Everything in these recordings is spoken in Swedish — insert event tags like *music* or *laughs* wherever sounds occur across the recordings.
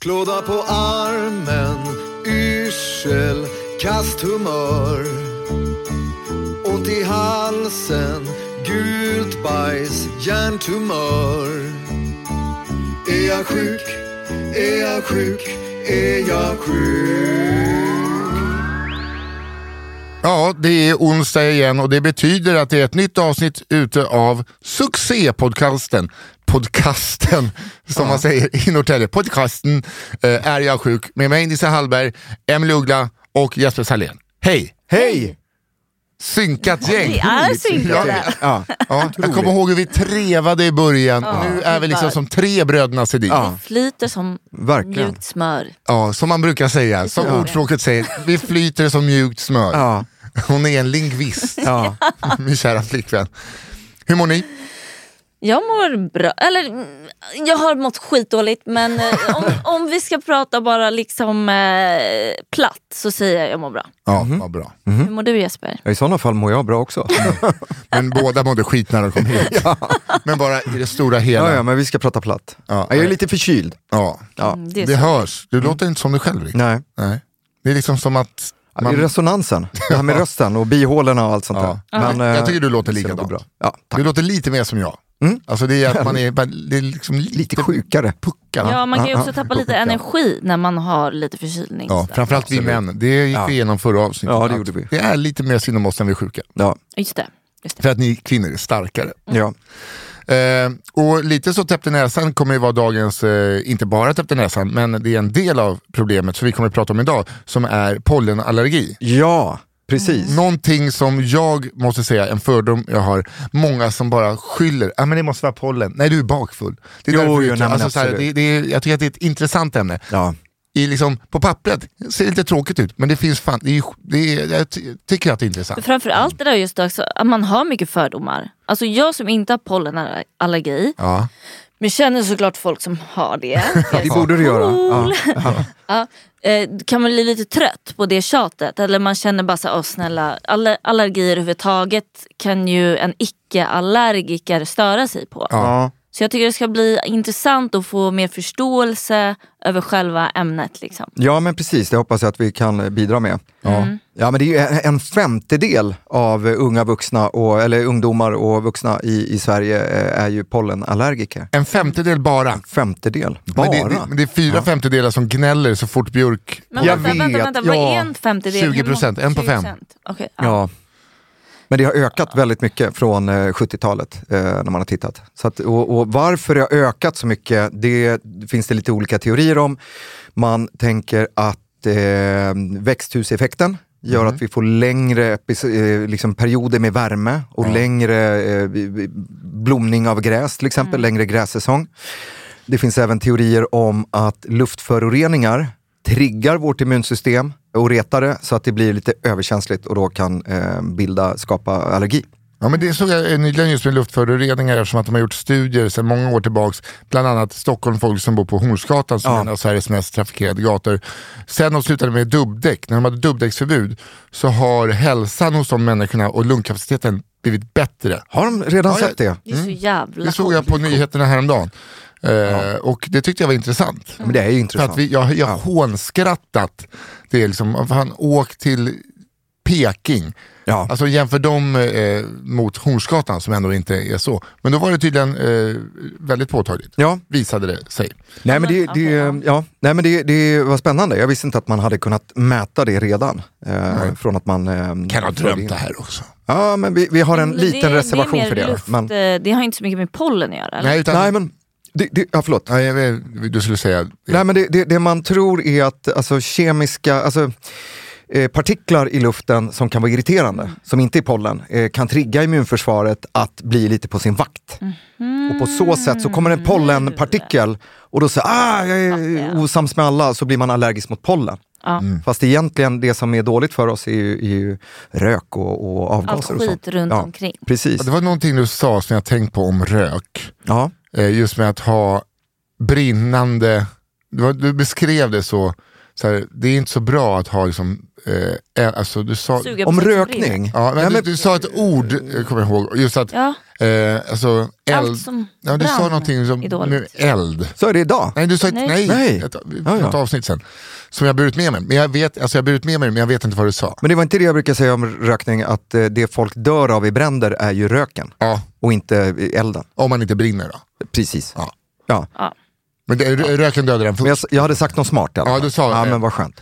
Klåda på armen, yrsel, kast humör. Ont i halsen, gult bajs, hjärntumör. Är jag sjuk? Är jag sjuk? Är jag sjuk? Ja, det är onsdag igen och det betyder att det är ett nytt avsnitt ute av succépodcasten. Podcasten, som man säger i Norrtälje. Podcasten eh, Är jag sjuk? Med mig Nisse Hallberg, Emil Uggla och Jesper Salén. Hej! Hej! Synkat gäng. Vi är Otroligt synkade. gäng. Ja, ja. Jag kommer ihåg hur vi trevade i början. nu är vi liksom som tre bröderna Sedin. Ja. Ja. Flyter som Verkligen. mjukt smör. som man brukar säga, som Ja. ordspråket säger. Vi flyter som mjukt smör. Ja, Hon är en lingvist, ja. *laughs* min kära flickvän. Hur mår ni? Jag mår bra, eller mm, jag har mått skitdåligt men eh, om, om vi ska prata bara liksom eh, platt så säger jag jag mår bra. Ja, vad bra. Hur mår du Jesper? I sådana fall mår jag bra också. Mm. Men båda mådde skit när de kom hit. Men bara i det stora hela. *laughs* Ja, ja, Ja, men vi ska prata platt. Ja. Jag är lite förkyld. Ja. Mm, det är Det så. hörs, du låter inte som dig själv riktigt. Nej. Nej. Det är liksom som att... Man... Man, Resonansen, det här *laughs* med rösten och bihålorna och allt sånt Ja. där. Men, jag eh, tycker du låter det ska nog likadant. gå Bra. Ja, tack. du låter lite mer som jag. Mm. Alltså det är att man är, man- det är liksom lite, Lite sjukare. puckad. Ja man kan ju Ja, också ja. tappa lite energi när man har lite förkylning. Ja, sådär. framförallt vi män, det gick Ja. vi igenom förra avsnittet. Ja, det Att gjorde vi. det är lite mer synd om oss när vi är sjuka. Ja. Just det. Just det. För att ni kvinnor är starkare. Ja. Eh, och lite så täppt i näsan kommer ju vara dagens, eh, inte bara täppt i näsan, men det är en del av problemet som vi kommer att prata om idag, som är pollenallergi. ja, precis. Någonting som jag måste säga, en fördom jag har, många som bara skyller, ah, men det måste vara pollen, nej du är bakfull. Det är Jo, därför du jo, kan- nej, men alltså, så här, det, absolut. det är, jag tycker att det är ett intressant ämne. Ja. I liksom, på pappret ser det lite tråkigt ut, men det finns fan, det är, det är, jag ty- tycker att det är intressant. Framförallt det där just också, att man har mycket fördomar. Alltså jag som inte har pollenallergi, Ja. men känner såklart folk som har det. Det borde du göra. Ja. Ja, eh, kan man bli lite trött på det tjatet? Eller man känner bara så här, "Åh, snälla, aller- allergier överhuvudtaget kan ju en icke-allergiker störa sig på. Ja. Så jag tycker det ska bli intressant att få mer förståelse över själva ämnet. Liksom. ja, men precis. Det hoppas jag att vi kan eh, bidra med. Ja. Ja, men det är ju en- en femtedel av eh, unga vuxna, och, eller ungdomar och vuxna i, i Sverige eh, är ju pollenallergiker. En femtedel bara. Femtedel, bara. Men det, det, men det är fyra femtedelar som gnäller så fort Björk... Men Jag vänta, vänta, vet, vänta, vad ja. är en femtedel? 20%, en på fem. 20%. Okej, ja. Ja. Men det har ökat väldigt mycket från eh, 70-talet eh, när man har tittat. Så att, och, och varför det har ökat så mycket, det finns det lite olika teorier om. Man tänker att eh, växthuseffekten gör att vi får längre epis- eh, liksom perioder med värme och längre eh, b- b- blomning av gräs till exempel, längre grässäsong. Det finns även teorier om att luftföroreningar triggar vårt immunsystem och retar det så att det blir lite överkänsligt och då kan eh, bilda, skapa allergi. Ja, men det såg jag nyligen just med luftföroreningar eftersom att de har gjort studier sedan många år tillbaks. Bland annat Stockholm, folk som bor på Hornsgatan som är en av Sveriges mest trafikerade gator. Sen de slutade med dubbdäck, när de hade dubbdäcksförbud så har hälsan hos de människorna och lungkapaciteten blivit bättre. Har de redan Ja, jag- sett det? Det är så jävla Det såg jag på nyheterna häromdagen. Eh, Och det tyckte jag var intressant. Men det är ju För intressant. att vi, jag jag har hånskrattat. Det är liksom, fan åk till Peking. ja. Alltså jämför dem eh, mot Hornsgatan som ändå inte är så. Men då var det tydligen eh, väldigt påtagligt. ja. Visade det sig. Nej men, det, men, det, okej, ja. Nej, men det, det var spännande. Jag visste inte att man hade kunnat mäta det redan. Eh, Från att man... Eh, Kan ha förde drömt in. det här också. Ja, men vi, vi har en Men liten det, reservation det är mer för det. Luft, men, eh, Det har inte så mycket med pollen att göra. eller? Nej, utan, nej, men... Det, det, ja, förlåt. Nej, jag vet- du skulle säga... Nej, men det, det, det man tror är att alltså, kemiska alltså, eh, partiklar i luften som kan vara irriterande, Mm. som inte är pollen, eh, kan trigga immunförsvaret att bli lite på sin vakt. Mm-hmm. Och på så sätt så kommer en pollenpartikel och då säger ah, jag är osams med alla, så blir man allergisk mot pollen. Ja. Mm. Fast egentligen det som är dåligt för oss är ju, är ju rök och, och avgaser Allt och sånt. skit runt ja, omkring. Ja, Precis. Det var någonting du sa som jag tänkt på om rök. Ja. Eh, just med att ha brinnande... Du, var, du beskrev det så, så här, det är inte så bra att ha liksom... Eh, ä- alltså, du sa, Suga på Om sig som brinner. rökning. ja, men Nej, du, men- du sa ett ord, eh, kommer jag ihåg, just att... Ja, Eh, alltså, eld, allt som ja, du sa brann någonting som är dåligt. eld. Så är det idag. Nej, du sa ett, nej. Nej. Nej. Ett, ett Ja, ja. avsnitt sen. Som jag burit med mig. Men jag vet, alltså jag har burit med mig men jag vet inte vad du sa. Men det var inte det jag brukar säga om rökning, att eh, det folk dör av i bränder är ju röken Ja, och inte eh, elden. om man inte brinner då. Precis. Ja. Ja. Ja. Men det, rö- röken dödar den Men jag, först. s- jag hade sagt något smart i alla Ja, fall. du sa ja, det. men vad skönt.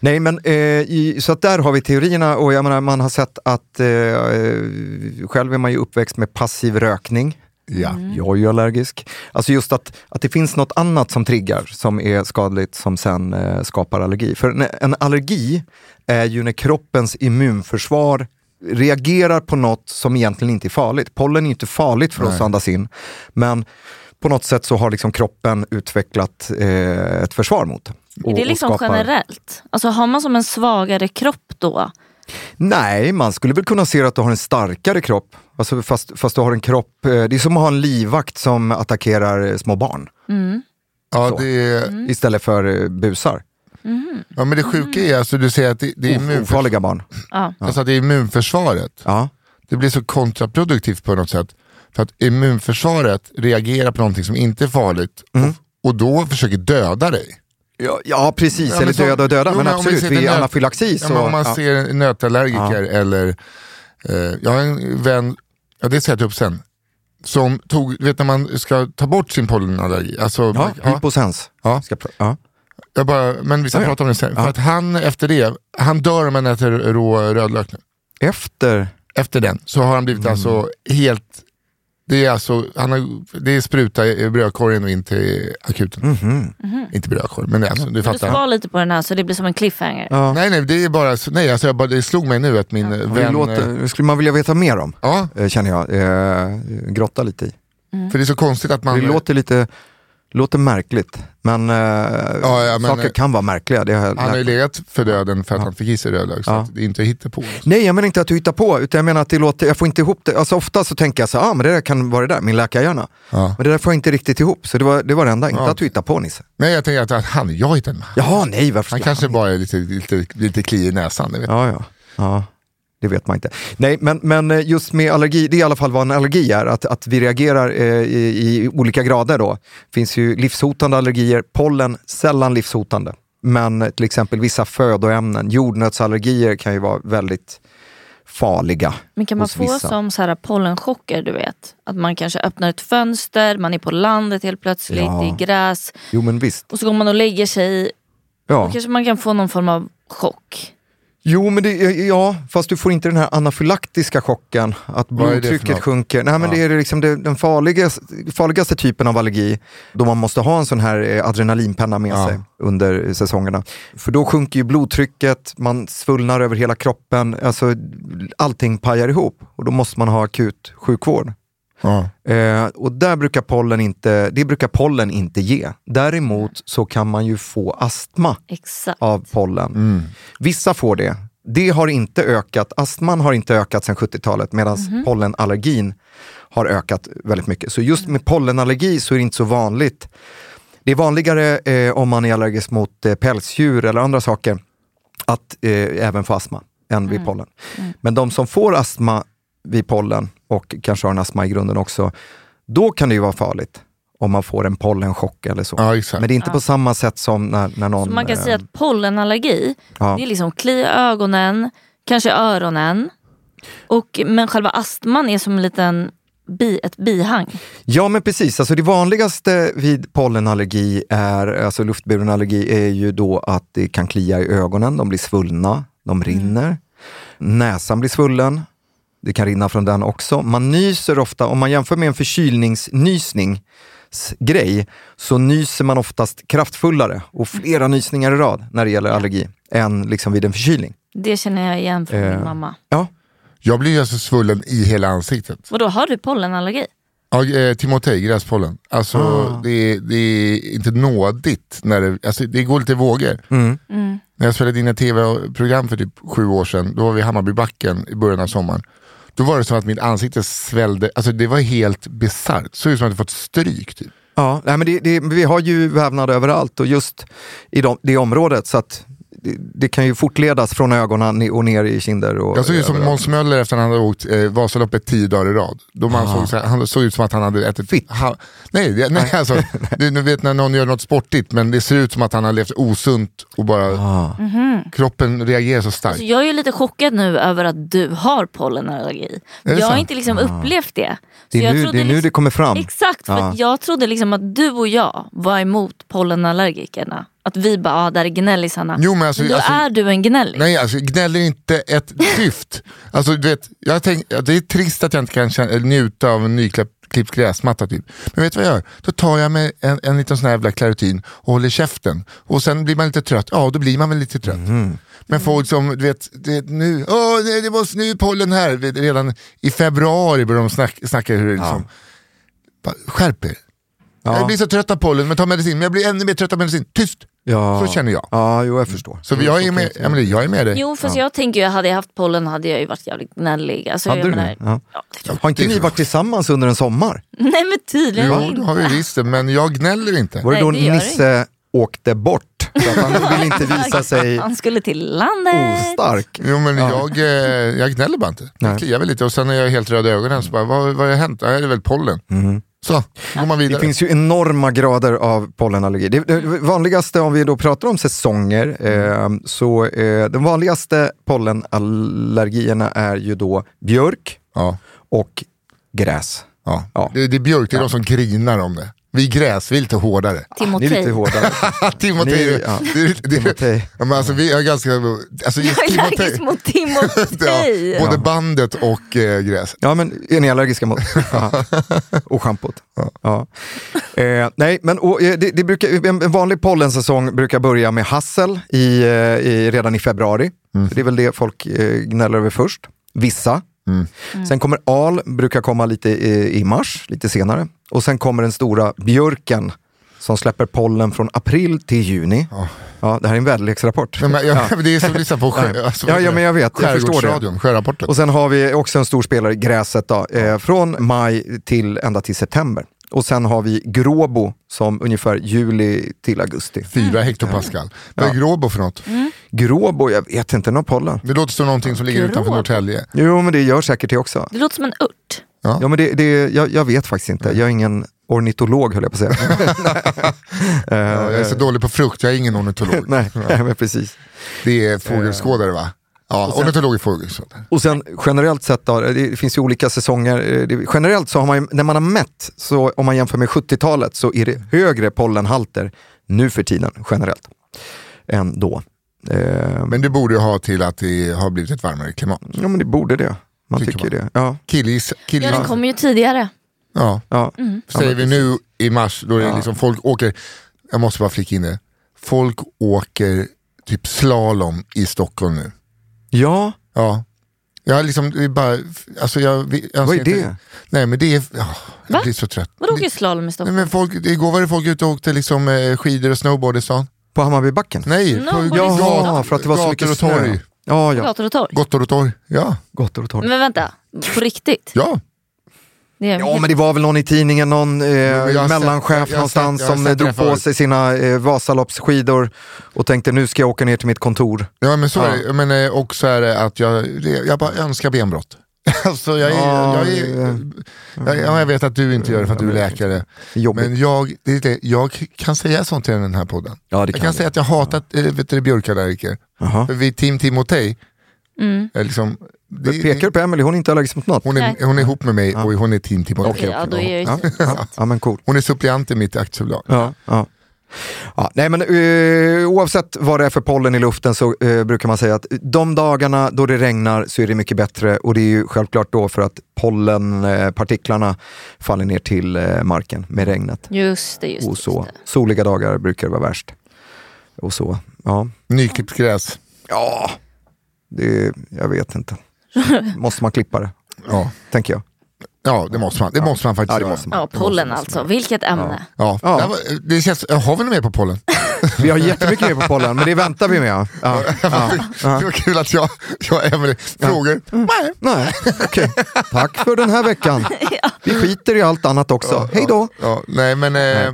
Nej, men, eh, i, så att där har vi teorierna och jag menar, man har sett att eh, eh, själv är man ju uppväxt med passiv rökning. Ja. Mm. Jag är ju allergisk. Alltså just att, att det finns något annat som triggar som är skadligt som sen eh, skapar allergi. För en, en allergi är ju när kroppens immunförsvar reagerar på något som egentligen inte är farligt. Pollen är ju inte farligt för oss att andas in, men på något sätt så har liksom kroppen utvecklat eh, ett försvar mot. Är det liksom generellt? Alltså har man som en svagare kropp då? Nej, man skulle väl kunna se att du har en starkare kropp. Alltså fast, fast du har en kropp, eh, det är som att ha en livvakt som attackerar eh, små barn. Ja, Så. det är, istället för eh, busar. ja, men det sjuka Mm. är, alltså, du säger att det, det, är O- immunförs- Ofarliga barn. Ja. alltså, att det är immunförsvaret. Ja. Det blir så kontraproduktivt på något sätt. För att immunförsvaret reagerar på någonting som inte är farligt Mm. och, och då försöker döda dig. Ja, ja, precis, Ja, eller men så- döda och döda, Jo, men, men om vi absolut, ser vid till nöt- anafylaxi så... Ja, men om man ja. ser nötallergiker eller, eh, jag har en vän, ja det ser jag upp sen, som tog, du vet när man ska ta bort sin pollenallergi, alltså, Ja, ja, ja, hyposens. Ja. Ska jag pr- ja. jag bara, men vi ska Ja, ja. prata om det sen, för att han efter det, han dör om han äter rå rödlök nu. Efter, Efter den så har han Mm. blivit alltså helt, det är alltså, han har, det är spruta i brödkorgen och in till akuten. Mhm. Mm. Inte brödkorgen, men det är alltså, du Du fattar. spar lite på den här så det blir som en cliffhanger. ja. Nej nej, det är bara, så- nej alltså jag bara, det slog mig nu att min det vän, eh, låter, det skulle man vilja veta mer om, ja, eh, känner jag. Eh, grotta lite i. för det är så konstigt att man Det låter lite låter märkligt, men, eh, ja, men, saker eh, kan vara märkliga. Det har jag Han har ju lärt- legat för döden för att han fick i sig rödlök. Så Ja. att det är inte hittepå. Nej, jag menar inte att du hittar på, utan jag menar att det låter, jag får inte ihop det. Alltså ofta så tänker jag så här, ah, men det där kan vara det där, min läkarhjärna. Ja. Men det där får jag inte riktigt ihop, så det var det, var det enda, inte Ja. att du hittar på Nisse. Nej jag tänker att, att han, jag hittade den. Jaha, nej, varför Han skulle kanske bara är lite, lite, lite kli i näsan. ni Vet. Ja, ja. ja. Det vet man inte. Nej, men, men eh, just med allergi, det är i alla fall vad en allergi är, att, att vi reagerar eh, i, i olika grader då. Det finns ju livshotande allergier, pollen sällan livshotande. Men eh, till exempel vissa födoämnen, jordnötsallergier kan ju vara väldigt farliga. Men kan man hos få vissa. som så här pollenchocker du vet? Att man kanske öppnar ett fönster, man är på landet helt plötsligt, Ja. det är gräs. Jo men visst. Och så går man och lägger sig, Ja. då kanske man kan få någon form av chock. Jo, men det, ja, fast du får inte den här anafylaktiska chocken, att Vad är det för blodtrycket något? sjunker. Nej, men Det är liksom det, den farligaste, farligaste typen av allergi, då man måste ha en sån här eh, adrenalinpenna med sig under säsongerna. För då sjunker ju blodtrycket, man svullnar över hela kroppen, alltså, allting pajar ihop och då måste man ha akut sjukvård. Ja. Eh, och där brukar pollen inte, det brukar pollen inte ge. Däremot så kan man ju få astma Exakt. Mm. av pollen. Vissa får det, Det har inte ökat, astman har inte ökat sedan 70-talet medan Mhm. pollenallergin har ökat väldigt mycket. Så just med pollenallergi så är det inte så vanligt. Det är vanligare eh, om man är allergisk mot eh, pälsdjur eller andra saker att eh, även få astma än Mm. vid pollen. Men de som får astma vid pollen och kanske har en astma i grunden också, då kan det ju vara farligt om man får en pollenchock eller så. Ja, exakt. Men det är inte på samma sätt som när, när någon... Så man kan eh, säga att pollenallergi, ja. det är liksom kli i ögonen, kanske öronen. Och, men själva astman är som en liten bi, ett bihang. Ja men precis, alltså det vanligaste vid pollenallergi, är, alltså luftburen allergi, är ju då att det kan klia i ögonen, de blir svullna, de rinner. Näsan blir svullen, det kan rinna från den också. Man nyser ofta, om man jämför med en förkylningsnysningsgrej, så nyser man oftast kraftfullare och flera nysningar i rad när det gäller allergi, än liksom vid en förkylning. Det känner jag igen från Eh. min mamma. Ja, Jag blir alltså svullen i hela ansiktet. Vadå, har du pollenallergi? Ja, eh, Timotej, gräspollen. Alltså, det, är, det är inte nådigt. När det, alltså, det går lite i vågor. När jag spelade in ett tv-program för typ sju år sedan, då var vi i Hammarbybacken i början av sommaren. Då var det som att mitt ansikte svällde, alltså det var helt bisarrt. Såg ut som att jag fått stryk. Typ. Ja, nej, men det, det, vi har ju vävnad överallt och just i de, det området så att det, det kan ju fortledas från ögonen ne- och ner i kinder. Och Jag såg ut som överallt. Måns Möller efter han hade åkt eh, Vasaloppet tio dagar i rad. Då man såg, så här, han såg ut som att han hade ätit fitt. Ha, nej, det- nej alltså, du, du vet när någon gör något sportigt men det ser ut som att han har levt osunt och bara kroppen reagerar så starkt. Så jag är ju lite chockad nu över att du har pollenallergi. det Jag har sant? inte liksom upplevt det. Ah. det Så är, jag nu, trodde det är nu liksom- det Ah. kommer fram. Exakt, för Ja. att jag trodde liksom att du och jag var emot pollenallergikerna. Att vi bara, ah, där är gnällisarna. Jo, men alltså- då alltså- är du en gnällis. Nej, alltså gnäller inte *laughs* ett dyft. Alltså, du vet, jag tänk, att det är trist att jag inte kan känna, njuta av en nyklippt gräsmatta. Typ. Men vet du vad jag gör? Då tar jag mig en, en liten sån här jävla klarutin och håller käften. Och sen blir man lite trött. Ja, då blir man väl lite trött. Mhm. Men folk som, du vet, du vet nu, åh, nej, det var nu pollen här. Vet, Redan i februari började de snack, snacka hur det liksom, Bara, skärp er. Ja. Jag blir så trött av pollen, men ta medicin. Men jag blir ännu mer trött av medicin. Tyst! Ja. Så känner jag. Ja, jo, jag förstår. Så Mm, jag så är med, kan jag- Emily, jag är med dig. Jo, fast jag tänker ju, hade jag haft pollen hade jag ju varit jävligt gnällig. Alltså, Hade jag du det? Ja. Ja, det tror Har inte ni varit tillsammans under en sommar? jag. *laughs* Nej men tydligen Jo, inte. det har vi visst det, men jag gnäller inte. Var det Nej, då det gör jag Nisse åkte bort? För att han ville inte *laughs* visa sig Han skulle till landet. ostark. Jo, men jag, eh, jag gnäller bara inte. Jag Nej. kliar väl lite och sen är jag helt röd i ögonen. Så bara, vad, vad har hänt? Ja, det är väl pollen. Så, då går man Det vidare. Mhm. finns ju enorma grader av pollenallergi. Det, det vanligaste, om vi då pratar om säsonger, eh, så eh, de vanligaste pollenallergierna är ju då björk Ja, och gräs. ja. Ja. Det, det är Björk, det är de som grinar om det. Vi är gräs, vi är lite hårdare. *laughs* Ni är lite *laughs* Timotej. hårdare. Timotej, Ni- ja. det, det, Timotej. Ja, men alltså, vi är ganska... Alltså, just Jag är Timotej. allergisk mot *laughs* Ja, *laughs* Timotej. både bandet och eh, gräs. Ja, men är ni allergiska mot? Ja. Och schampot. Ja. Eh, nej, men och, eh, det, det brukar, en en vanlig pollensäsong brukar börja med hassel i, eh, i, redan i februari. För Det är väl det folk eh, gnäller över först. Vissa. Sen kommer al, brukar komma lite i, i mars, lite senare. Och sen kommer den stora björken som släpper pollen från april till juni. Ja, det här är en väderleksrapport. Men, men, *laughs* jag, Det är som att lyssna på skö, alltså, Ja, ja, men jag vet, jag förstår det. Skärgårdsradion, sjörapporten. Och sen har vi också en stor spelare, Gräset, då, eh, från maj till ända till september. Och sen har vi Gråbo som ungefär juli till augusti. Mm. Fyra hektopascal. Vad är Gråbo för något? Gråbo, jag vet inte, någon pollen. Det låter som någonting som ligger utanför Gråbo. Norrtälje. Jo, men det gör säkert det också. Det låter som en ört. Ja, men det, det, jag, jag vet faktiskt inte. Jag är ingen ornitolog, höll jag på att säga. Ja, jag är så dålig på frukt, jag är ingen ornitolog. eh. *laughs* Nej, nej, men precis. Det är fågelskådare va? Ja, ornitolog är fågelskådare. Och sen generellt sett, då, det finns ju olika säsonger. Eh, Det, generellt så har man ju, när man har mätt, så om man jämför med 70-talet, så är det högre pollenhalter nu för tiden generellt än då. Eh, Men det borde ju ha till att det har blivit ett varmare klimat. ja, men det borde det. Man Tycker tycker, det. Ja, Killgissa. Ja, den killgissa. kommer ju tidigare. Ja, ja. säger vi nu i mars, då är det liksom folk åker, jag måste bara flika in det, folk åker typ slalom i Stockholm nu. ja Ja. Jag har liksom, det är bara, alltså jag, vi- jag vad ser är inte- det? Nej men det är, ja, Va? jag blir så trött. Vadå Det- åker slalom i Nej, Stockholm? men folk, igår var det folk ute och åkte liksom, eh, skidor och snowboard i stan. På Hammarbybacken? Nej, No, på på gat- Jaha, för att det var så gator mycket och snö. torg. Ja, ja. Gator och torg. Gator och torg. Ja. Gator och torg. Men vänta, på riktigt? ja. Det är Ja men det var väl någon i tidningen, någon eh, jag har sett- jag har mellanchef sett- någonstans jag har som sett eh, drog det på förut. sig sina eh, Vasaloppsskidor och tänkte nu ska jag åka ner till mitt kontor. Ja men så Ja. är det. Men eh, också är det att jag, det- jag bara önskar benbrott. *laughs* Alltså jag, är, Ja, jag, är, det jag, ja, jag vet att du inte gör det för att du är läkare. Jobbigt. Men jag, det är det, jag kan säga sånt till den här podden. ja, det Jag kan säga att jag hatar ja. vet du, björkallergiker. Jaha. För vi är team Timotej. Mm. Liksom, det- Men Pekar du på Emelie? Hon är inte allergisk mot något? hon, Nej. är, hon är ihop med mig och hon är team Timotej. okej, ja, då är jag Ja, ju *laughs* ja, ja men cool. Hon är suppleant i mitt aktiebolag. Ja, ja. Ja, nej men eh, oavsett vad det är för pollen i luften så eh, brukar man säga att de dagarna då det regnar så är det mycket bättre och det är ju självklart då för att pollenpartiklarna eh, partiklarna faller ner till eh, marken med regnet. Just det, just det. och Just så. det. Soliga dagar brukar det vara värst. Och så, ja. Nyklippt gräs. Ja, det, jag vet *laughs* inte. Måste man klippa det, Ja. tänker jag. ja, det måste man. Det måste man faktiskt Ja, det göra. måste man. Ja, pollen alltså. Vilket ämne. Ja. Ja. Det, var, det känns, har vi något mer på pollen? Vi har jättemycket mer på pollen, men det väntar vi med. Ja, ja, ja. *laughs* Mm. Det var kul att jag, jag och Emelie frågar. Nej. Nej, okej. Tack för den här *laughs* veckan. Vi skiter i allt annat också. Hej då! Ja, nej men eh,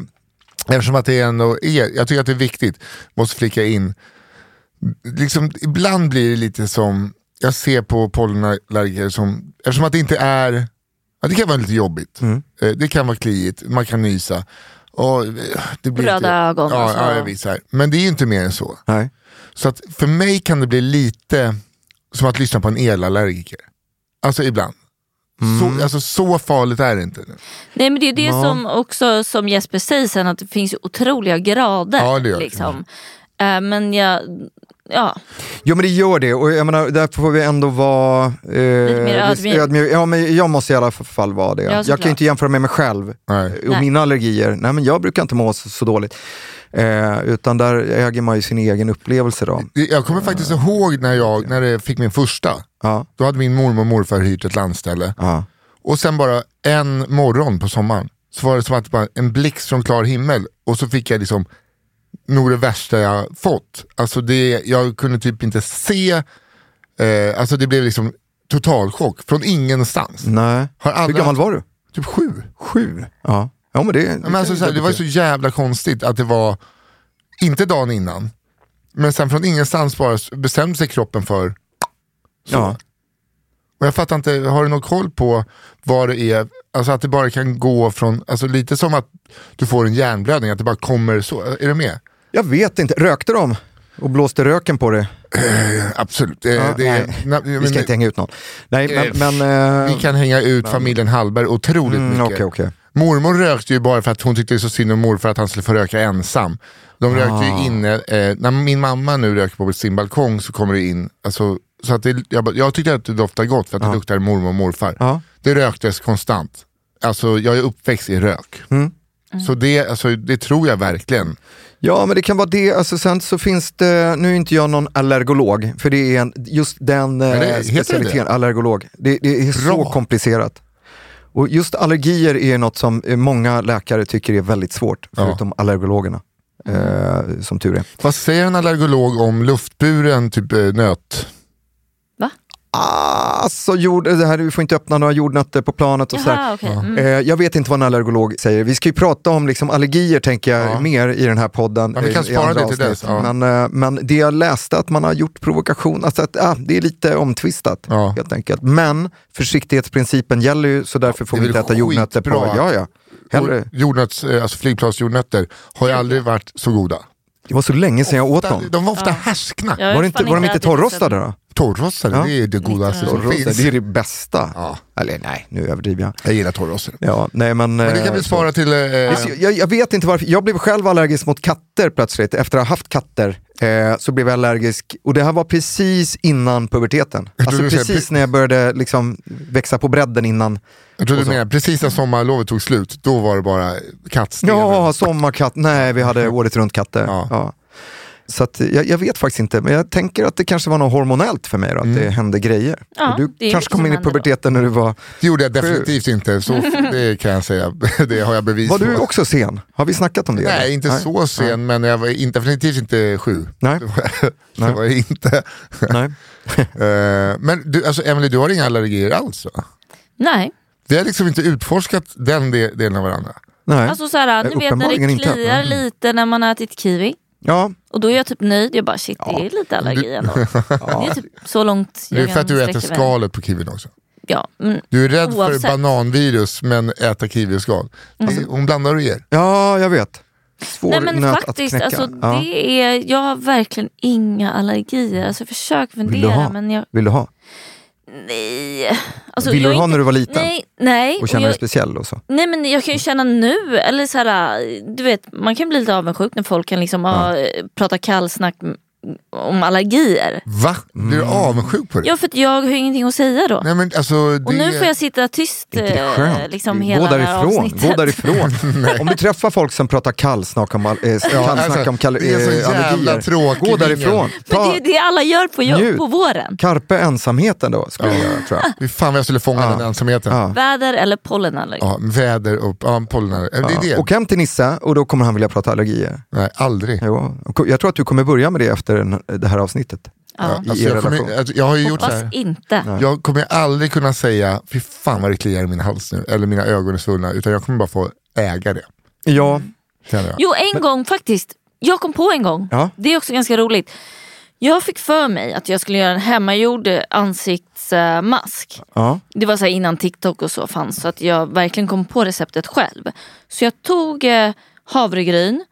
eftersom att det ändå är, jag tycker att det är viktigt, måste flika in. Liksom, ibland blir det lite som, jag ser på pollenallergiker som, eftersom att det inte är, ja, det kan vara lite jobbigt. Mm. Eh, Det kan vara kliigt, man kan nysa. Och, eh, det blir Röda lite, ögon och Ja, så. ja, jag visst, så här. Men det är ju inte mer än så. Nej. Så att för mig kan det bli lite som att lyssna på en elallergiker. Alltså ibland. Mm. Så, alltså, så farligt är det inte. Nu. Nej men det är det som också som Jesper säger sen att det finns ju otroliga grader. Ja, det gör det. liksom. Eh, Men jag, ja, Jo men det gör det och jag menar, där får vi ändå vara... Eh, Lite mer ödmjuk. Ja men jag måste i alla fall vara det. jag såklart. kan ju inte jämföra mig med mig själv Nej. och Nej. mina allergier. Nej men jag brukar inte må så, så dåligt. Eh, utan där äger man ju sin egen upplevelse då. Jag kommer faktiskt ihåg när jag, när jag fick min första. Eh. Ja, Då hade min mormor och morfar hyrt ett landställe. ja. Och sen bara en morgon på sommaren så var det som att det bara en blixt från klar himmel. Och så fick jag liksom nog det värsta jag fått. Alltså det, jag kunde typ inte se. Eh, alltså det blev liksom totalchock från ingenstans. Nej. Har alla- Hur gammal var du? Typ sju. Sju. Ja, ja men det... Ja, Men alltså, så här, det var ju så jävla konstigt att det var, inte dagen innan, men sen från ingenstans bara s- bestämde sig kroppen för, Ja. och jag fattar inte, har du någon koll på vad det är, alltså att det bara kan gå från, alltså lite som att du får en hjärnblödning, att det bara kommer så, är du med? Jag vet inte, rökte de? Och blåste röken på det? Absolut. Eh, Ja, det är- nej. na- Vi ska men- inte hänga ut någon. Nej, Eh, men... men eh, Vi kan hänga ut familjen Hallberg otroligt mm, mycket. Okej, okej. Mormor rökte ju bara för att hon tyckte så synd om morfar att han skulle få röka ensam. De rökte Ah. ju inne, eh, när min mamma nu röker på sin balkong så kommer det in, alltså, så att det, jag, bara- jag tyckte att det doftade gott för att det luktar mormor och morfar. Ja. Det röktes konstant. Alltså jag är uppväxt i rök. Mm. Så det, alltså, det tror jag verkligen. Ja, men det kan vara det. Alltså, sen så finns det, nu är inte jag någon allergolog, för det är en, just den eh, det- heter det specialiteten, det? allergolog. Det, det är så Bra. komplicerat. Och just allergier är något som eh, många läkare tycker är väldigt svårt, Ja. förutom allergologerna, eh, som tur är. Vad säger en allergolog om luftburen typ eh, nöt? va? Alltså, jord, det här, vi får inte öppna några jordnötter på planet och sådär. Jaha, okej. Mm. Eh, Jag vet inte vad en allergolog säger. Vi ska ju prata om liksom allergier tänker jag Ja. mer i den här podden. Ja, vi kan eh, i spara andra det till avsnitt. dess, ja. Men, eh, men det jag läste att man har gjort provokation, alltså att, ah, det är lite omtvistat Ja. helt enkelt. Men försiktighetsprincipen gäller ju så därför får Det är vi inte väl äta jordnötter på... skitbra. Ja, ja. Hellre. Jordnöts, eh, alltså flygplansjordnötter har ju aldrig varit så goda. Det var så länge sedan jag åt dem. De var ofta härskna. Jag har Var, det ju inte, fan var de inte ätit det sen- torrrostade då? Torrrostade, Ja. det är det godaste som Torrrostade, finns. det är det bästa. Ja. Eller nej, nu överdriver jag. Jag gillar torrrostade. Ja, nej, men, Men det kan vi spara till... Eh, Alltså, jag, jag vet inte varför, jag blev själv allergisk mot katter plötsligt. Efter att ha haft katter eh, så blev jag allergisk. Och det här var precis innan puberteten. Jag Alltså trodde du precis säger- när jag började liksom, växa på bredden innan. jag tror du menar, precis när sommarlovet tog slut, då var det bara kattsteven. Ja, sommarkatt. Nej, vi hade året runt katter. Ja. Mm. Ja. Så att, jag, jag vet faktiskt inte, men jag tänker att det kanske var något hormonellt för mig då, att Mm. det hände grejer. Ja, Och det du är kanske det som kom in i händer då. puberteten när du var... Det gjorde jag definitivt inte, så det kan jag säga. *laughs* Det har jag bevis Var du på. också sen? Har vi snackat om det? Nej, eller? inte så sen, men jag var in- definitivt inte sju. Nej. Det var, *laughs* det var jag inte. Nej. *laughs* Eh, men du, alltså, Emily, du har inga allergier alls va? Nej. Vi har liksom inte utforskat den de- delen av varandra. Nej. Alltså såhär, ni vet när uppenbarligen det inte. kliar Mm. lite när man har ätit kiwi. Ja, Och då är jag typ nöjd. Jag bara shit, det är lite allergi ändå. Det är typ så långt jag Det är för kan att du äter sträcka mig. skalet på kiwin också. Ja, men Du är rädd Oavsett. Mm. för bananvirus men äter kiwiskal. Alltså, hon blandar och ger. ja, jag vet. Svår Nej men nöt faktiskt, att knäcka. alltså, ja. det är, jag har verkligen inga allergier. Alltså försök Vill du fundera ha? men jag... Vill du ha? Nej. Alltså, Vill jag du är ha inte- när du var liten? Nej, nej. Och Och känna dig jag, speciell och så? nej men jag kan ju känna nu, eller så här, du vet man kan bli lite avundsjuk när folk kan liksom ha, prata kallsnack m- om allergier. Va? Blir du avundsjuk på det? Ja för att jag har ju ingenting att säga då. Nej, men, alltså, det... Och nu får jag sitta tyst Inte det är eh, skönt? liksom gå hela det här därifrån. avsnittet. Gå därifrån. om du träffar folk som pratar kallsnack om, all- eh, kallsnack alltså, om kall, det är så eh, jävla allergier, tråkig gå därifrån. *laughs* Men det Ta är det alla gör på, Njut. jobb, på våren. Carpe ensamheten då, skulle jag göra tror jag. Fy fan vad jag skulle fånga den ensamheten. Ja. Ja. Väder eller pollenallergi. väder och ja, pollenare. Ja. Det är det. Åk hem till Nissa och då kommer han vilja prata allergier. Nej, aldrig. Jo. Jag tror att du kommer börja med det efter den- det här avsnittet. Ja. I Alltså, er jag, relation. kommer, alltså, jag har ju gjort så Hoppas här. inte. Jag kommer aldrig kunna säga, fy fan vad det kliar i min hals nu, eller mina ögon är svullna, utan jag kommer bara få äga det. Ja, Känner jag. Jo en gång faktiskt, jag kom på en gång. Ja. Det är också ganska roligt. Jag fick för mig att jag skulle göra en hemmagjord ansiktsmask. ja. Det var så här innan TikTok och så fanns så att jag verkligen kom på receptet själv. Så jag tog eh, havregryn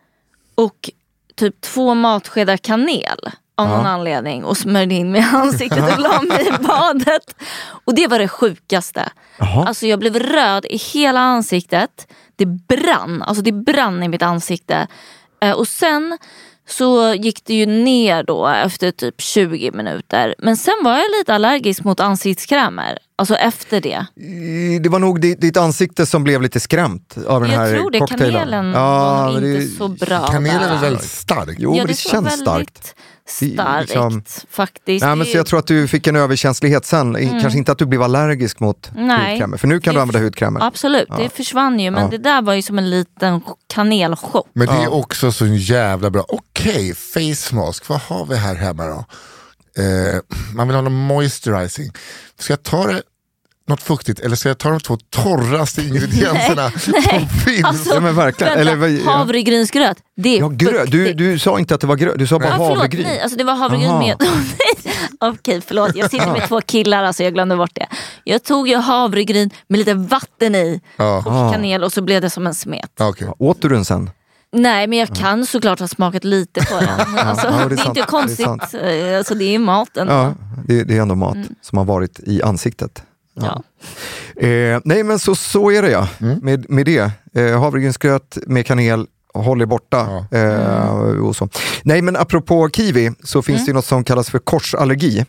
och typ två matskedar kanel av någon anledning och smörjde in mig i ansiktet och la mig *laughs* i badet. Och det var det sjukaste. Alltså jag blev röd i hela ansiktet. Det brann, alltså det brann i mitt ansikte. Eh, och sen så gick det ju ner då efter typ 20 minuter. Men sen var jag lite allergisk mot ansiktskrämer. Alltså efter det. I- Det var nog di- ditt ansikte som blev lite skrämt av den Jag här tror det. cocktailen. Kanelen var nog men inte det- så bra Kanel är där. väl väldigt stark? Jo, Ja, men det, tror jag känns starkt. Starkt Det är liksom- faktiskt. Nej, Det är men så ju- jag tror att du fick en överkänslighet sen. I- Kanske inte att du blev allergisk mot Nej. hudkrämer. För nu kan du Det- använda hudkrämer. Absolut, det försvann ju men det där var ju som en liten kanelchock. Men det är också så jävla bra. Okej, face mask, vad har vi här hemma då? Eh, man vill ha någon moisturizing. Ska jag ta det, något fuktigt eller ska jag ta de två *laughs* torraste ingredienserna som finns? *laughs* Alltså, Ja, men verkligen. Vänta, Eller vad- ja. havregrynsgröt, det är Ja, grö, du, fuktigt. du sa inte att det var gröt, du sa bara Ja, förlåt, havregryn. nej, alltså det var havregryn Aha. med... *laughs* Nej, Okej, förlåt. Jag sitter med två killar, alltså jag glömde bort det. Jag tog ju havregryn med lite vatten i Ja. och kanel och så blev det som en smet. Ja, okej. Åt du den sen? Nej, men jag kan såklart ha smakat lite på den. Men Alltså, Ja, det är det är sant. inte Det är konstigt. sant. Eh, Alltså, det är ju maten. Ja, det, det är ändå mat som har varit i ansiktet. Ja. Eh, nej men så, så är det ja, med, med det. Eh, havregrynsgröt med kanel, håll er borta. Eh, och så. Nej men apropå kiwi så finns det ju något som kallas för korsallergi.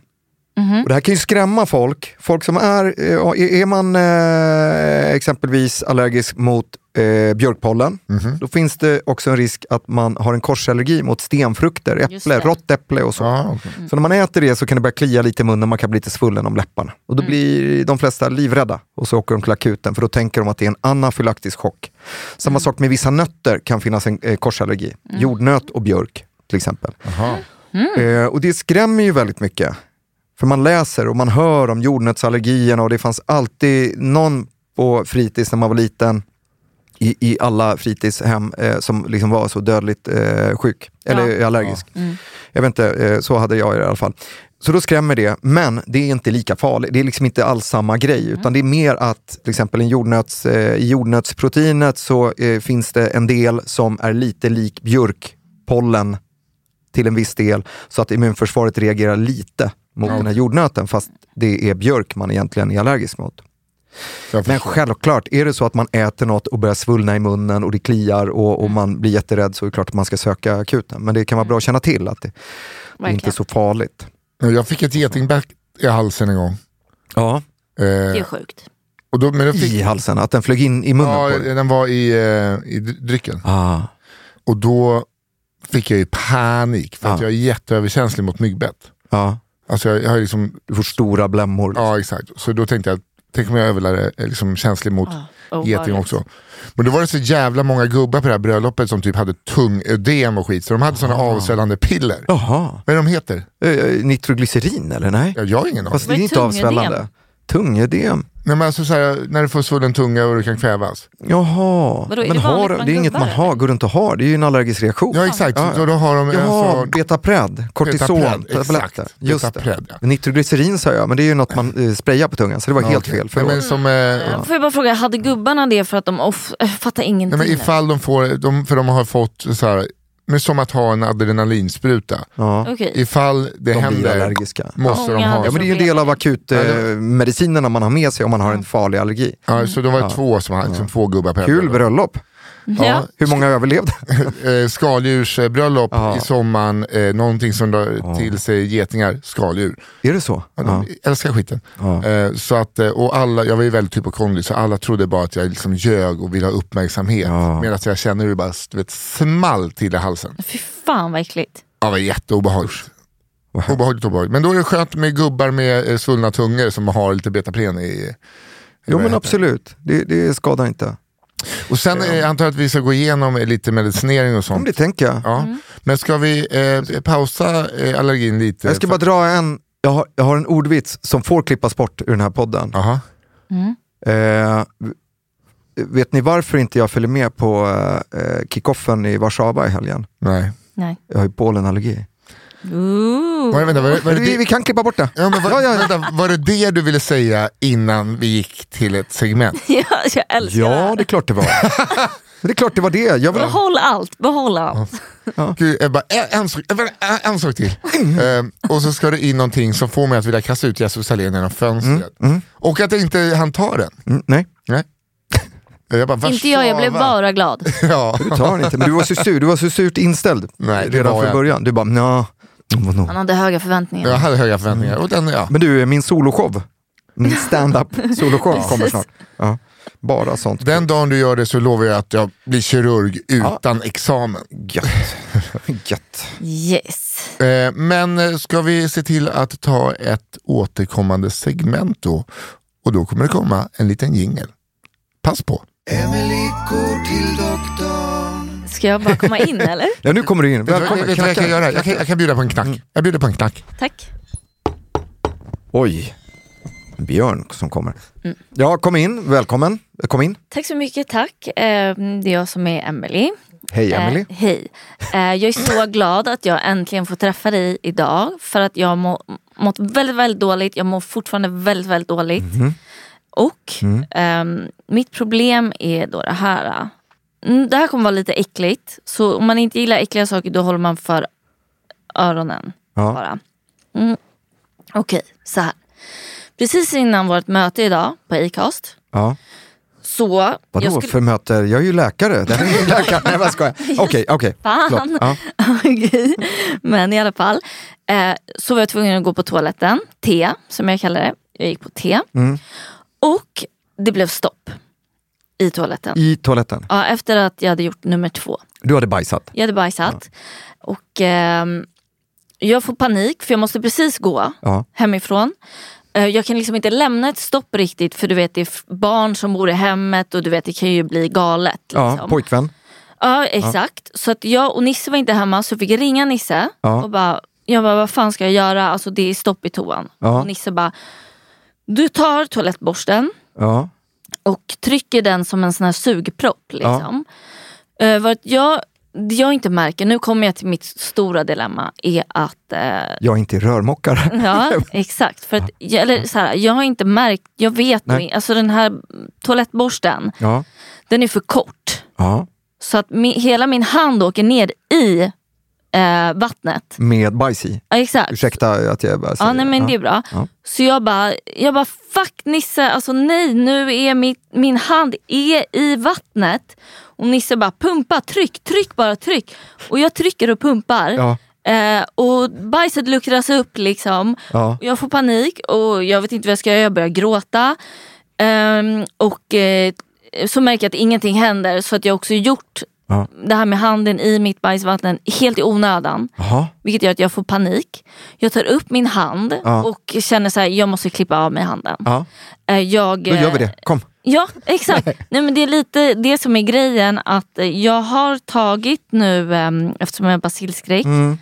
Och det här kan ju skrämma folk. Folk som är, eh, ja, är är man eh, exempelvis allergisk mot eh, björkpollen, då finns det också en risk att man har en korsallergi mot stenfrukter, äpple, det. rått äpple och så. Ja, okej. Så när man äter det så kan det börja klia lite i munnen, man kan bli lite svullen om läpparna. Och då blir de flesta livrädda och så åker de till akuten för då tänker de att det är en anafylaktisk chock. Samma sak med vissa nötter kan finnas en eh, korsallergi. Jordnöt och björk till exempel. Jaha. Eh, och det skrämmer ju väldigt mycket. För man läser och man hör om jordnötsallergierna och det fanns alltid någon på fritids när man var liten i, i alla fritidshem eh, som liksom var så dödligt eh, sjuk, eller allergisk. Jag vet inte, eh, så hade jag i alla fall. Så då skrämmer det, men det är inte lika farligt. Det är liksom inte alls samma grej, utan det är mer att till exempel en jordnöts, eh, i jordnötsproteinet så eh, finns det en del som är lite lik björkpollen till en viss del så att immunförsvaret reagerar lite mot den här jordnöten fast det är björk man egentligen är allergisk mot. Jag Men förstår. självklart, är det så att man äter något och börjar svullna i munnen och det kliar och, Mm. och man blir jätterädd så är det klart att man ska söka akuten. Men det kan vara bra att känna till att det, det är inte är Verkligen. så farligt. Men Jag fick ett getingback i halsen en gång. Ja. Det Eh, är sjukt. och då, men jag fick, I halsen, att den flög in i munnen Ah, ja, på dig. den var i, eh, i drycken. Ah. Och då fick jag ju panik för att Ja. jag är jätteöverkänslig mot myggbett. Ja. Alltså jag, jag har liksom, Du får stora blämmor. ja exakt. Så då tänkte jag, tänk om jag överlär är liksom känslig mot Oh, geting vad- också. Men då var det så jävla många gubbar på det här bröllopet som typ hade tungödem och skit. Så de hade Ah. sådana avsvällande piller. Jaha. Vad är de heter? Eh, eh, Nitroglycerin eller? Nej? Ja, jag har ingen aning. Fast det Vad är är inte avsvällande. tungödem? Tungödem. Nej, men alltså, så här, när du får svullen tunga och du kan kvävas. Oh, Jaha. Vadå, är men det vanligt har, bland det är inget gubbar, man har, eller? går runt och har. Det är ju en allergisk reaktion. Ja exakt, Ja, så då har de en Jaha, sån... betapred, kortison, Betapred, exakt. tabletter. Just Betapred, det. Nitroglycerin sa jag, men det är ju något man eh, sprayar på tungan, så det var helt okej. fel. Nej, Förlåt. men, som, eh, Ja, Får jag bara fråga, hade gubbarna det för att de off- jag fattar ingenting? nej, men ifall de får, de, för de har fått så här, men som att ha en adrenalinspruta. ja. Okej. Ifall det De blir händer allergiska. Ja. måste de Många ha. hade Ja, men men, det är ju en del av Ja, det- akutmedicinerna man har med sig om man har en farlig allergi. ja, så de var två som hade, liksom, två gubbar på Kul bröllop. Ja. Hur många *laughs* överlevde? eh, skaldjursbröllop Ja. i sommaren, eh, någonting som drar till sig getingar, skaldjur. är det så? Ja. Ja, de älskar skiten. Ja. Eh, så att, eh, och alla, jag var ju väldigt hypokondrisk så alla trodde bara att jag liksom ljög och ville ha uppmärksamhet. Ja. Medan jag känner hur det bara du vet, small till i halsen. Fy fan vad äckligt. Ja, det var jätteobehagligt. Vad hemskt. Obehagligt, obehagligt. Men då är det skönt med gubbar med eh, svullna tungor som har lite betapren i. Jo vad heter men det? absolut, det, det skadar inte. Och sen eh, antar jag att vi ska gå igenom eh, lite medicinering och Om sånt. det tänker jag. Ja. Mm. Men ska vi eh, pausa eh, allergin lite? Jag ska bara dra en, jag har, jag har en ordvits som får klippas bort ur den här podden. Aha. Eh, vet ni varför inte jag följer med på eh, kickoffen i Warszawa i helgen? Nej. Nej. *laughs* Jag har ju pollenallergi. Ooh. Var, det- vänta, var, det- var det vi, vi det, kan klippa bort det. ja, men var, Ja, ja, ja. Vänta, var det det du ville säga innan vi gick till ett segment? Ja, jag älskar det Ja, här. det är klart det var. *laughs* det är klart det var det. Jag vill, Behåll allt, behåll allt. Gud, jag bara, en, en, sak- en, en sak till. Mm. Ehm, och så ska det in någonting som får mig att vilja kasta ut Jesus Sahlén genom fönstret. Och att inte han tar den. Mm, nej, Nej. Jag bara, Inte jag, jag blev Warszawa. bara glad. Ja. du tar den inte. Men du var så sur, du var så surt inställd Nej, det redan var från jag. början. Du bara, nja. Han hade höga förväntningar. Jag hade höga förväntningar. Och den, ja. Men du, min soloshow, min *laughs* stand-up soloshow kommer Precis. snart. Ja. Bara sånt. den dagen du gör det så lovar jag att jag blir kirurg utan examen. *laughs* Gött. Gött. Yes. Eh, Men eh, ska vi se till att ta ett återkommande segment då? Och då kommer det komma en liten jingel. Pass på. Emily går till doktorn. Ska jag bara komma *laughs* in eller? Ja, nu kommer du in. Vet du vad- Välkommen. vet du vad jag Mm. kan knacka. göra? Jag kan, jag kan bjuda på en knack. Jag bjuder på en knack. Tack. Oj, en björn som kommer. Mm. Ja, kom in. Välkommen. Kom in. Tack så mycket, tack. Eh, Det är jag som är Emelie. Hej Emily. Eh, hej. Eh, jag är så *clears throat* glad att jag äntligen får träffa dig idag. För att jag har må, mått väldigt, väldigt dåligt. Jag mår fortfarande väldigt, väldigt dåligt. Mhm. Och Mm. ehm, mitt problem är då det här. Mm, Det här kommer vara lite äckligt. Så om man inte gillar äckliga saker då håller man för öronen Ja. bara. Mm. Okej, så här. Precis innan vårt möte idag på Acast. Ja. Så... Vadå jag skulle- för möter? Jag är ju läkare. Den är ju *laughs* läkare. Nej, vad ska jag? Okej, okej. Fan! Förlåt. Ja. *laughs* Okej. Men i alla fall. Eh, så var jag tvungen att gå på toaletten. T, som jag kallar det. Jag gick på T. Mm. Och det blev stopp i toaletten. I toaletten. Ja, efter att jag hade gjort nummer två. Du hade bajsat. Jag hade bajsat. Och ehm, jag får panik för jag måste precis gå Ja. hemifrån. Eh, Jag kan liksom inte lämna ett stopp riktigt för du vet det är f- barn som bor i hemmet och du vet det kan ju bli galet. Liksom. Ja, pojkvän. Ja exakt. Så att jag och Nisse var inte hemma så jag fick ringa Nisse Ja. och bara, jag bara vad fan ska jag göra? Alltså det är stopp i toan. Ja. Och Nisse bara, du tar toalettborsten Ja. och trycker den som en sån här sugpropp. Liksom. Eh, vad jag, det jag inte märker, nu kommer jag till mitt stora dilemma, är att eh, Jag är inte rörmokare. *laughs* *laughs* Ja, exakt. För att, jag- eller så här, jag har inte märkt, jag vet Nej. nog alltså den här toalettborsten, Ja. den är för kort. ja. Så att mi, hela min hand åker ner i eh, vattnet. Med bajs i. Ja, exakt. Ursäkta att jag bara säger Ja, nej, men det är bra. Ja. Så jag bara, jag bara fuck Nisse, alltså nej nu är mitt, min hand är i vattnet. Och Nisse bara pumpa, tryck, tryck bara tryck. Och jag trycker och pumpar. Ja. Eh, och bajset luckras upp liksom. Ja. Och Jag får panik och jag vet inte vad jag ska göra, jag börjar gråta. Ehm, och eh, så märker jag att ingenting händer så att jag också gjort Ja. Det här med handen i mitt bajsvatten helt i onödan. Jaha. Vilket gör att jag får panik. Jag tar upp min hand Ja. och känner så här, jag måste klippa av mig handen. Ja. Eh, Jag, Då gör vi det, kom. Ja, *laughs* exakt. Nej. men det är lite det som är grejen. att eh, Jag har tagit nu, ehm, eftersom jag har basilskräck, Mm.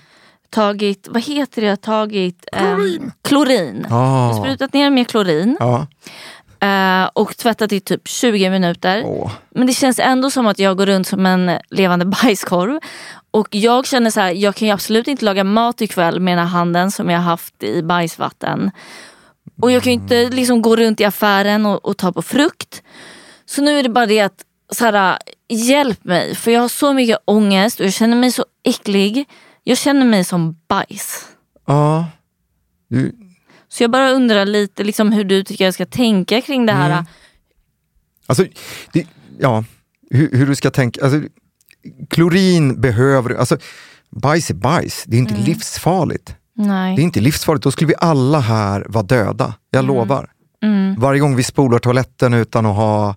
tagit, vad heter det, jag har tagit ehm, klorin. Ah. Jag har Sprutat ner med klorin Ja. eh, och tvättat i typ 20 minuter. Åh. Men det känns ändå som att jag går runt som en levande *laughs* bajskorv. Och jag känner så här, jag kan ju absolut inte laga mat ikväll med den här handen som jag har haft i bajsvatten. Och jag kan ju inte liksom gå runt i affären och, och ta på frukt. Så nu är det bara det att, så här, hjälp mig. För jag har så mycket ångest och jag känner mig så äcklig. Jag känner mig som bajs. Ja. Du, Så jag bara undrar lite liksom, hur du tycker jag ska tänka kring det här. Alltså, det, ja, hur, hur du ska tänka. Alltså, klorin behöver alltså, Bajs är bajs, det är inte livsfarligt. Nej. Det är inte livsfarligt, då skulle vi alla här vara döda. Jag lovar. Varje gång vi spolar toaletten utan att ha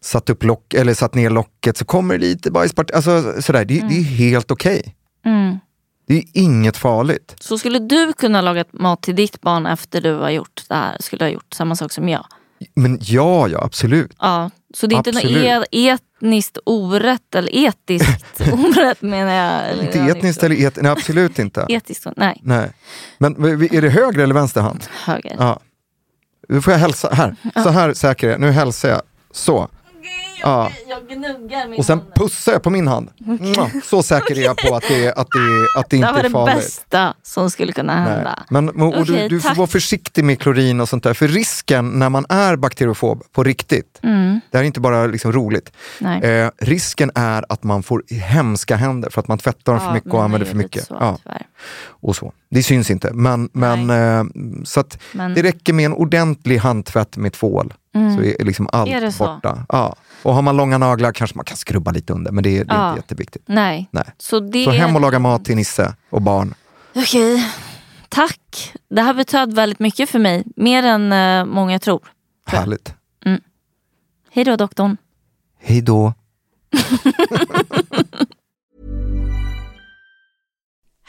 satt, upp lock, eller satt ner locket så kommer det lite bajspart. Alltså, sådär. Det, det är helt okej. Mm. Det är inget farligt. Så skulle du kunna laga mat till ditt barn efter du har gjort det här? Skulle ha gjort samma sak som jag? Men ja, ja absolut. Ja. Så det är inte något Absolut. e- etniskt orätt, eller etiskt *laughs* orätt menar jag. Eller Inte jag har etniskt gjort- eller et, nej, absolut inte. Etiskt, nej. Nej. Men är det höger eller vänster hand? Höger. Ja. Nu får jag hälsa här. Så här säker är jag. Nu hälsar jag. Så. Ja. Jag gnuggar min Och sen pussar jag på min hand. Mwah. Så säker är jag på att det, att det, att det Det här inte var är det farligt. bästa som skulle kunna Nej. hända. Men, och och du, Okej, du får tack. vara försiktig med klorin och sånt där. För risken när man är bakteriofob på riktigt, det här är inte bara liksom roligt. Mm. Nej. Eh, risken är att man får hemska händer för att man tvättar för Ja, mycket men och det använder är för lite mycket. Så, Ja. tyvärr. och så. Det syns inte. Men, men, eh, så att Men- Mm. det räcker med en ordentlig handtvätt med tvål. Så är liksom allt Är det så? borta. Ja. Och har man långa naglar kanske man kan skrubba lite under, men det, är- det är Ja. inte jätteviktigt. Nej. Nej. Så det Så hem är... och laga mat till Nisse och barn. Okej. Tack. Det här betöd väldigt mycket för mig. Mer än eh, många tror. Härligt. Hej då doktorn. Hej då.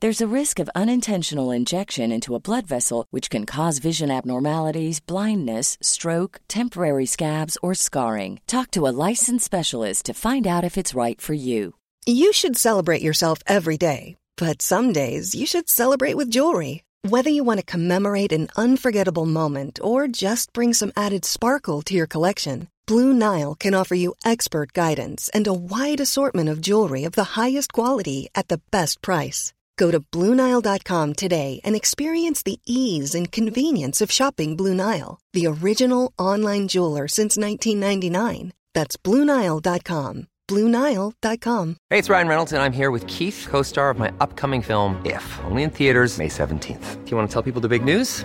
There's a risk of unintentional injection into a blood vessel, which can cause vision abnormalities, blindness, stroke, temporary scabs, or scarring. Talk to a licensed specialist to find out if it's right for you. You should celebrate yourself every day, but some days you should celebrate with jewelry. Whether you want to commemorate an unforgettable moment or just bring some added sparkle to your collection, Blue Nile can offer you expert guidance and a wide assortment of jewelry of the highest quality at the best price. Go to BlueNile.com today and experience the ease and convenience of shopping Blue Nile, the original online jeweler since 1999. That's BlueNile.com. BlueNile.com. Hey, it's Ryan Reynolds, and I'm here with Keith, co star of my upcoming film, If, only in theaters, May 17th. Do you want to tell people the big news?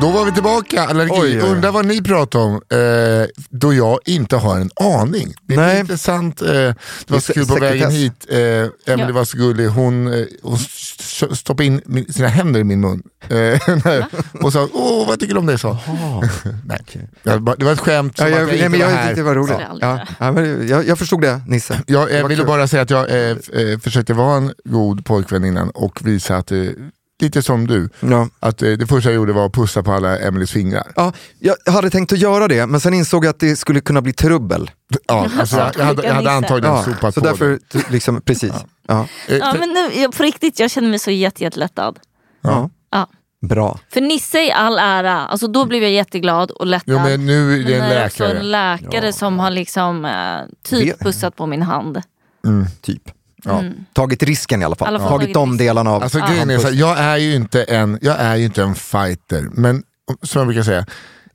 Då var vi tillbaka, allergi. Oj, oj, oj. Undrar vad ni pratar om, eh, då jag inte har en aning. Det är Nej. intressant. Eh, det var så kul på sekretess. vägen hit, eh, Emelie Ja. var så gullig, hon, eh, hon s- s- stoppade in min, sina händer i min mun. Eh, när- *laughs* och sa, åh vad tycker du om det? Så. *laughs* Nej. Jag bara- Det var ett skämt som Ja, att jag, jag nej, inte men var jag här. tyckte det var roligt. Skulle aldrig Ja. Ja, men jag, jag förstod det, Nisse. Jag Det eh, var ville kul. bara säga att jag eh, f- eh, försökte vara en god pojkvän innan och visa att, eh, lite som du, Ja. att eh, det första jag gjorde var att pussa på alla Emelies fingrar. Ja, jag hade tänkt att göra det, men sen insåg jag att det skulle kunna bli trubbel. Ja, alltså, jag, jag, hade, jag hade Nisse. antagligen Ja, sopat så på därför, t- liksom, precis. Ja. det. Eh, Ja, för- men nu, jag, på riktigt, jag känner mig så jätte, jättelättad. Ja. Ja. Bra. För Nisse i all ära, alltså, då blev jag jätteglad och lättad. Jo men nu är det en Men är också läkare. en läkare som har liksom, eh, typ Det- pussat på min hand. Typ. Ja. Tagit risken i alla fall. I Mm. alla fall Tagit tagit de risken. delarna av... Alltså, grejen är så här, jag, är ju inte en, jag är ju inte en fighter, men som jag brukar säga,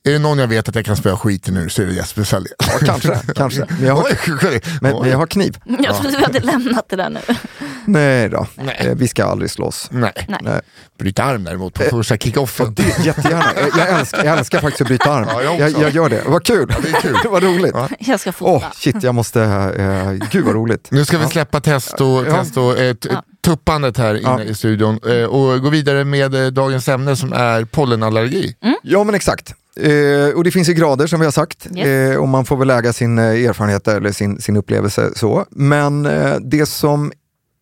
är det någon jag vet att jag kan spöa skiten nu så är det Jesper Sahlén. Ja, kanske, kanske. Men jag har, *laughs* Oj, men, oj. men jag har *laughs* kniv. Jag trodde vi hade lämnat det där nu. *laughs* Nej då, Eh, vi ska aldrig slåss. Nej, Nej. Nej. bryta arm däremot på första kickoffen. Eh, Det, jättegärna, Eh, jag älskar, jag älskar faktiskt att bryta arm. Ja, jag också. jag, jag gör det, vad kul. det är kul. *laughs* Vad roligt. Jag ska fota. Åh, shit, jag måste... Eh, gud vad roligt. Nu ska vi släppa testo, testo eh, t- tuppandet här inne Ja. i studion eh, och gå vidare med eh, dagens ämne som är pollenallergi. Mm. Ja men exakt. Eh, och det finns ju grader som vi har sagt Yes. eh, och man får väl lägga sin eh, erfarenhet eller sin, sin upplevelse så. Men eh, det som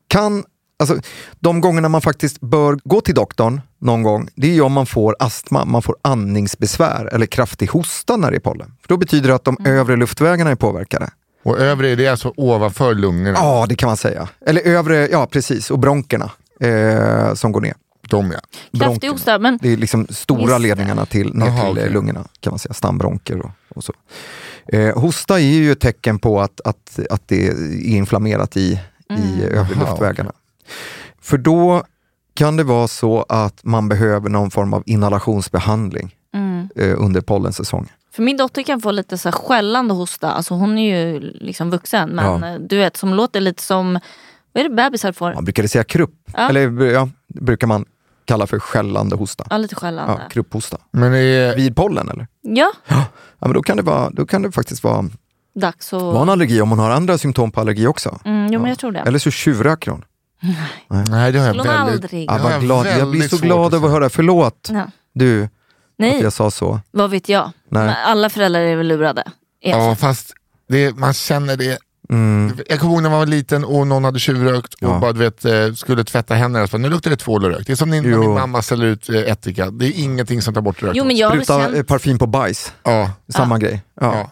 kan, alltså de gångerna man faktiskt bör gå till doktorn någon gång, det är ju om man får astma, man får andningsbesvär eller kraftig hosta när det är pollen. För då betyder det att de övre luftvägarna är påverkade. Och övre är det alltså ovanför lungorna. Ja, det kan man säga. Eller övre, ja precis, och bronkerna eh, som går ner. De ja. Kraftig hosta, men Det är liksom Just stora det. ledningarna till, ner Aha, till okej. eh, lungorna, kan man säga. Stambronker och, och så. Eh, hosta är ju ett tecken på att, att, att det är inflammerat i, Mm. i övre Aha, luftvägarna. För då kan det vara så att man behöver någon form av inhalationsbehandling Mm. eh, under pollensäsongen. För min dotter kan få lite så här skällande hosta, alltså hon är ju liksom vuxen men Ja. eh, du vet som låter lite som, vad är det bebisar får? Man brukade säga krupp, Ja. eller ja, det brukar man kalla för skällande hosta. Ja lite Ja, skällande. Ja, krupphosta. Men är, Vid pollen eller? Ja, men då, kan det vara, då kan det faktiskt vara, dags att... vara en allergi om man har andra symptom på allergi också. Mm, jo men jag tror det. Eller så tjuvröker hon. nej det har Slå mig jag väldigt... aldrig. Ja, Ja, vad jag glad. Jag blir väldigt så svårt att glad över att höra. Förlåt Ja. du att Nej, jag sa så. vad vet jag. Nej. Men Alla föräldrar är väl lurade. Ja. Ja fast det, man känner det. Jag kommer ihåg när man var liten och någon hade tjuvrökt och Mm. Ja. bara, du vet, eh, skulle tvätta händerna. och Så bara, nu luktar det tvål och rök. Det är som när när Jo. min mamma ställer ut eh, ättika. Det är ingenting som tar bort röken. Jo men jag har väl Spruta eh, känt... parfym på bajs, Ja, samma grej. Ja. Ja.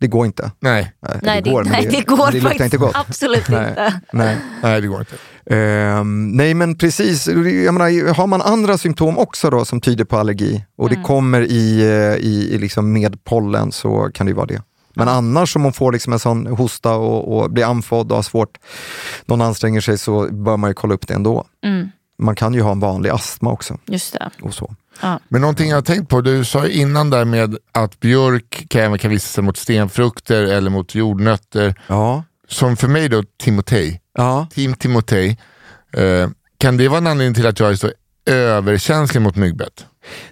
Det går inte. nej, Nej det, går, men nej, det- det går men det luktar faktiskt inte gott. absolut Nej. inte. Nej. nej det går inte. Ehm, nej men precis, jag menar, har man andra symptom också då som tyder på allergi och Mm. det kommer i, eh, i, i liksom med pollen så kan det ju vara det. Men annars om man får liksom en sån hosta och, och blir andfådd och har svårt, någon anstränger sig så bör man ju kolla upp det ändå. Mm, Man kan ju ha en vanlig astma också. just det. Och så. Men någonting jag har tänkt på, du sa ju innan där med att björk kan även kan visa sig mot stenfrukter eller mot jordnötter. Ja. Som för mig då, Timotej, Ja. Team Timotej, eh, kan det vara en anledning till att jag är så överkänslig mot myggbett?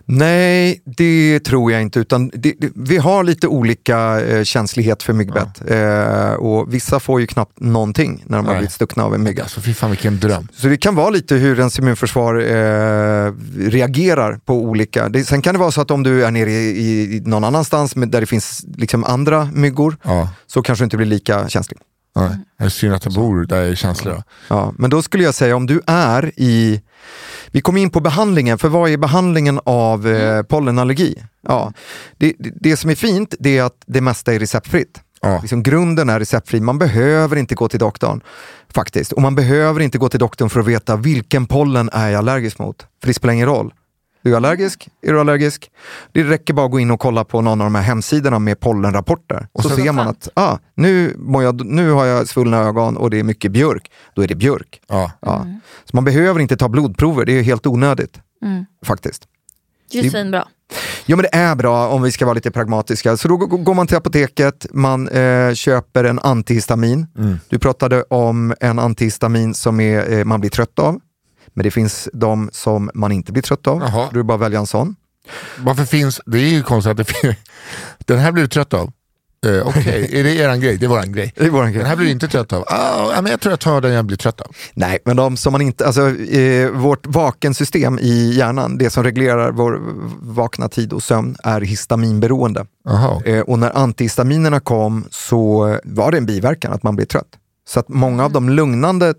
Nej, det tror jag inte. Utan det, det, vi har lite olika eh, känslighet för myggbett. Eh, och vissa får ju knappt någonting när de har Nej. blivit stuckna av en mygga. Alltså fy fan vilken dröm. Så det kan vara lite hur ens immunförsvar eh, reagerar på olika. Det, sen kan det vara så att om du är nere i, i, i någon annanstans med, där det finns liksom andra myggor Ja. så kanske du inte blir lika känslig. Nej. Det är synd att jag bor där jag är känslig. då. Ja, men då skulle jag säga om du är i... Vi kommer in på behandlingen, för vad är behandlingen av eh, pollenallergi? Ja, det, det- det som är fint det är att det mesta är receptfritt. Ja. Liksom grunden är receptfri, man behöver inte gå till doktorn. faktiskt. Och man behöver inte gå till doktorn för att veta vilken pollen är jag allergisk mot. För det spelar ingen roll. Du är allergisk, är du allergisk? Det räcker bara att gå in och kolla på någon av de här hemsidorna med pollenrapporter. Och så ser man att ah, nu, mår jag, nu har jag svullna ögon och det är mycket björk. Då är det björk. Ja. Ja. Så man behöver inte ta blodprover, det är helt onödigt. Faktiskt. Det är ju svinbra. Ja men det är bra om vi ska vara lite pragmatiska. Så då g- går man till apoteket, man eh, köper en antihistamin. Du pratade om en antihistamin som är, eh, man blir trött av. Men det finns de som man inte blir trött av. Jaha. Då är det bara att välja en sån. Varför finns, det är ju konstigt att det finns, *laughs* den här blir du trött av. Eh, Okej, *laughs* är det eran grej? Det är våran grej. Det är våran grej. Den här blir du inte trött av. Ah, ja, men jag tror jag tar den jag blir trött av. Nej, men de som man inte, alltså, eh, vårt vakensystem i hjärnan, det som reglerar vår vakna tid och sömn, är histaminberoende. Aha. Eh, och när antihistaminerna kom så var det en biverkan att man blev trött. Så att många av de lugnande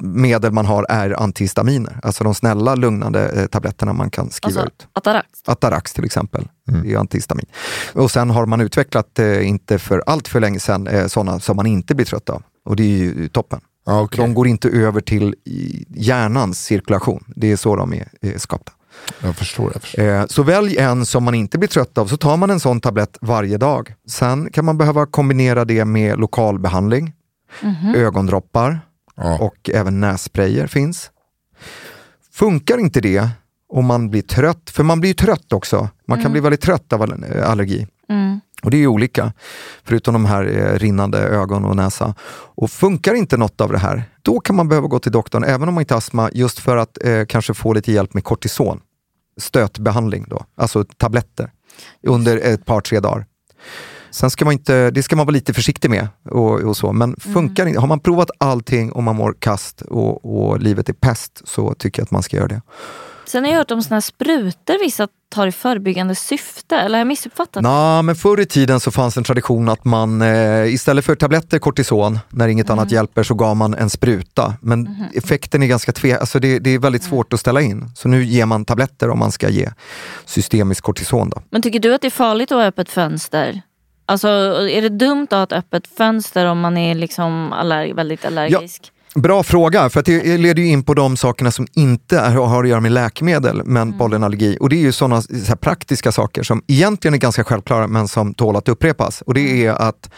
medel man har är antihistaminer, alltså de snälla lugnande eh, tabletterna man kan skriva Alltså ut. Atarax. Atarax till exempel, det är ju antihistamin. Och sen har man utvecklat, eh, inte för allt för länge sedan, eh, sådana som man inte blir trött av. Och det är ju eh, toppen. Ah, okay. De går inte över till i- hjärnans cirkulation. Det är så de är eh, skapta. Jag förstår. Jag förstår. Eh, Så välj en som man inte blir trött av, så tar man en sån tablett varje dag. Sen kan man behöva kombinera det med lokalbehandling, ögondroppar Ja. och även nässprayer finns. Funkar inte det om man blir trött, för man blir ju trött också, man kan bli väldigt trött av all- eh, allergi. Och det är ju olika, förutom de här eh, rinnande ögon och näsa. Och funkar inte något av det här, då kan man behöva gå till doktorn, även om man inte har astma, just för att eh, kanske få lite hjälp med kortison. Stötbehandling då, alltså tabletter, under ett par, tre dagar. Sen ska man inte, det ska man vara lite försiktig med. Och, och så. Men funkar inte, har man provat allting och man mår kast och, och livet är pest, så tycker jag att man ska göra det. Sen har jag hört om såna här sprutor vissa tar i förebyggande syfte. Eller har jag missuppfattat? Nej, men förr i tiden så fanns en tradition att man eh, istället för tabletter kortison, när inget annat hjälper, så gav man en spruta. Men effekten är ganska tve, alltså det, det är väldigt svårt att ställa in. Så nu ger man tabletter om man ska ge systemisk kortison. Då. Men tycker du att det är farligt att ha öppet fönster? Alltså är det dumt att ha ett öppet fönster om man är liksom allerg- väldigt allergisk? Bra fråga, för att det leder ju in på de sakerna som inte är, har att göra med läkemedel, men pollenallergi. Och det är ju sådana så här, praktiska saker som egentligen är ganska självklara, men som tål att upprepas. Och det är att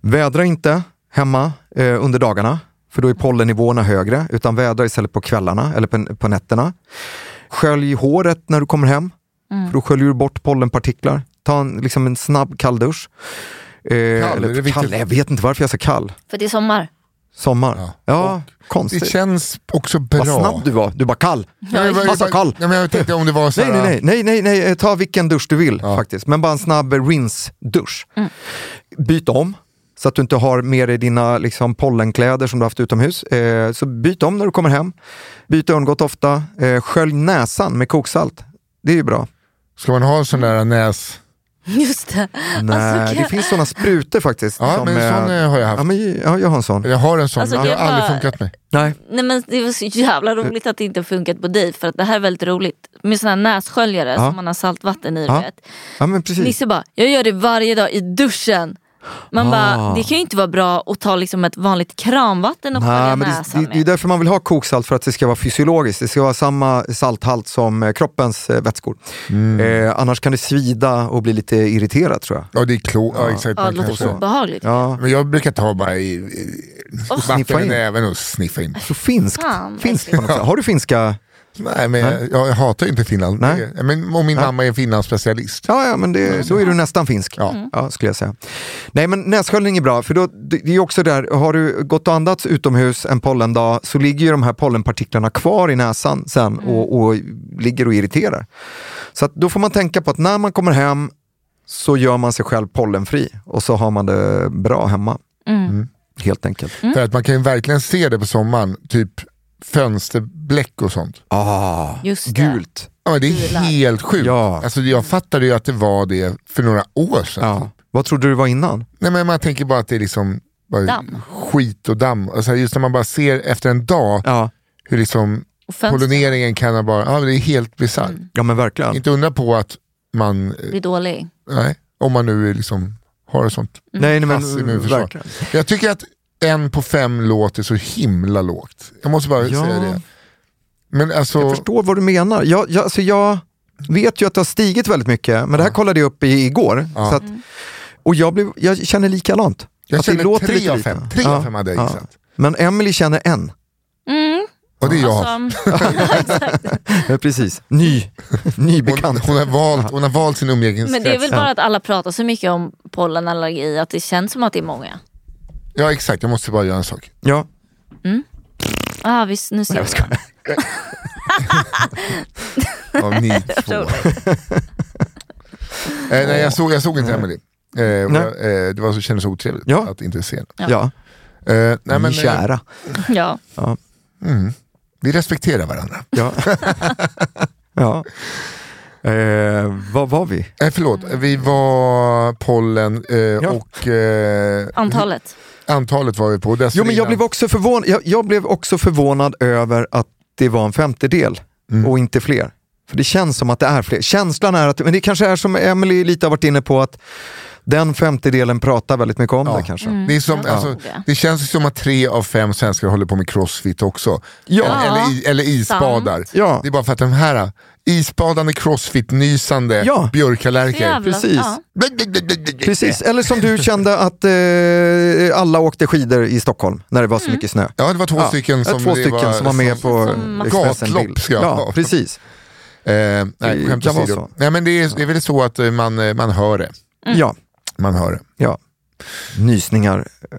vädra inte hemma eh, under dagarna, för då är pollennivåerna högre, utan vädra istället på kvällarna eller på, på nätterna. Skölj håret när du kommer hem, för då sköljer du bort pollenpartiklar. Ta en, liksom en snabb kall dusch. Eh, är det eller, viktigt? kall, jag vet inte varför jag är så kall. För det är sommar. *laughs* Sommar. Ja, konstigt. Det känns också bra. Vad snabb du var, du bara kall. Nej, men, Massa jag, kall. Nej, men jag tänkte om det var så Nej, här, nej, nej, nej, nej, nej, eh, ta vilken dusch du vill faktiskt. Men bara en snabb rinse-dusch. Byt om, så att du inte har med dig dina liksom, pollenkläder som du haft utomhus. Eh, så byt om när du kommer hem. Byt örngott ofta. Eh, skölj näsan med koksalt. Det är ju bra. Ska man ha en sån där näs... Just det. Nej, Alltså, eh, det finns såna sprutor faktiskt. Ja, men eh, en sån eh, har jag ja, haft. men, ja, jag har en sån. Jag har en sån, Alltså, men det det har är aldrig bara- funkat mig. Nej. Nej men det var så jävla roligt att det inte har funkat på dig för att det här är väldigt roligt. Med såna här nässköljare Ja. som man har saltvatten i. du Ja. Vet. Ja, men precis. Nisse bara, jag gör det varje dag i duschen. Man bara, det kan ju inte vara bra att ta liksom ett vanligt kranvatten och skölja Ah. Nej, men det, näsan det, det är med. därför man vill ha koksalt, för att det ska vara fysiologiskt. Det ska vara samma salthalt som eh, kroppens eh, vätskor. Eh, annars kan det svida och bli lite irriterat tror jag. Ja, det är klo... Ja, exakt. Ja, man det kan låter så. obehagligt. Ja. Men jag brukar ta bara i, i sniffa vatten i in. näven och *laughs* sniffa in. Så finskt. Fan, finskt på något sätt. Har du finska? Nej, men jag, jag hatar ju inte Finland. Nej. Det- Men, och min mamma är Finlandsspecialist. Ja, ja men det, då är du nästan finsk. Mm. Ja. skulle jag säga. Nej, men nässköljning är bra, för då, det det är också där, har du gått och andats utomhus en pollendag så ligger ju de här pollenpartiklarna kvar i näsan sen och, och ligger och irriterar. Så att då får man tänka på att när man kommer hem så gör man sig själv pollenfri och så har man det bra hemma. Mm. Helt enkelt. För att man kan ju verkligen se det på sommaren, typ fönsterbläck och sånt. Ah, Just det. gult. Ja, men det är helt sjukt. Ja. Alltså, jag fattade ju att det var det för några år sedan. Ja. Vad trodde du var innan? Nej, men man tänker bara att det är liksom bara Damm. skit och damm. Alltså, just när man bara ser efter en dag Ja, hur liksom Och fönstret pollineringen kan ha bara, ja, det är helt bisarrt. Mm. ja men verkligen. Inte undra på att man, eh, blir dålig. nej, om man nu är liksom har ett sånt Mm. Nej, nej, pass men immunförsvar. verkligen. Jag tycker att en på fem låter så himla lågt. Jag måste bara Ja. säga det. Men alltså, Jag förstår vad du menar. Jag, jag, alltså jag vet ju att det har stigit väldigt mycket, men det här kollade jag upp i, igår. Ja. Så att, och jag, blev, jag känner likadant. jag Att det känner låter tre lite av lite. fem. Tre av fem hade jag gissat. Men Emily känner en. Mm, Och det är *laughs* jag. alltså, Ja, Precis. *laughs* Ny, hon, *laughs* nybekant. hon, har valt, hon har valt sin umgängeskrets. men det är väl bara att alla pratar så mycket om pollenallergi att det känns som att det är många. Ja exakt, jag måste bara göra en sak. Ja. Ah, visst, nu ser jag. *laughs* av ni två. eh, *laughs* nej, jag såg, jag såg inte Emily. Eh, och Nej. jag, eh, det var så, kändes otrevligt Ja. att inte se henne. Ja. Ja, Eh, nej, men, ni eh, kära. *laughs* Ja. Ja. mm, vi respekterar varandra. *laughs* Ja. *laughs* ja. Eh, vad var vi? Eh, förlåt, vi var pollen eh, och eh, Antalet. antalet var vi på. Jo, men jag, blev också förvånad, jag, jag blev också förvånad över att det var en femtedel Mm. och inte fler. För det känns som att det är fler. Känslan är att, men det kanske är som Emily lite har varit inne på, att den femtedelen pratar väldigt mycket om det kanske. Mm. Det, är som, jag alltså, såg det. det känns ju som att tre av fem svenskar håller på med crossfit också. Ja. Eller, i- eller isbadar. sant. Ja. Det är bara för att de här eh, isbadande, crossfit-nysande Ja. björkalärkor. Jävlar. precis. Ja. Precis, Eh. eller som *laughs* du kände att eh, alla åkte skidor i Stockholm när det var så mycket snö. Ja, det var två Ja, stycken det var som, två det stycken var, som var med på Mm. som gatlopp Expressen-bild. ska jag Ja, ha. precis. Eh, nej, Det skämt kan vara åsido. så. Nej, men det är, det är väl så att eh, man, eh, man hör det. Mm. Ja, Man hör det. ja. Nysningar eh,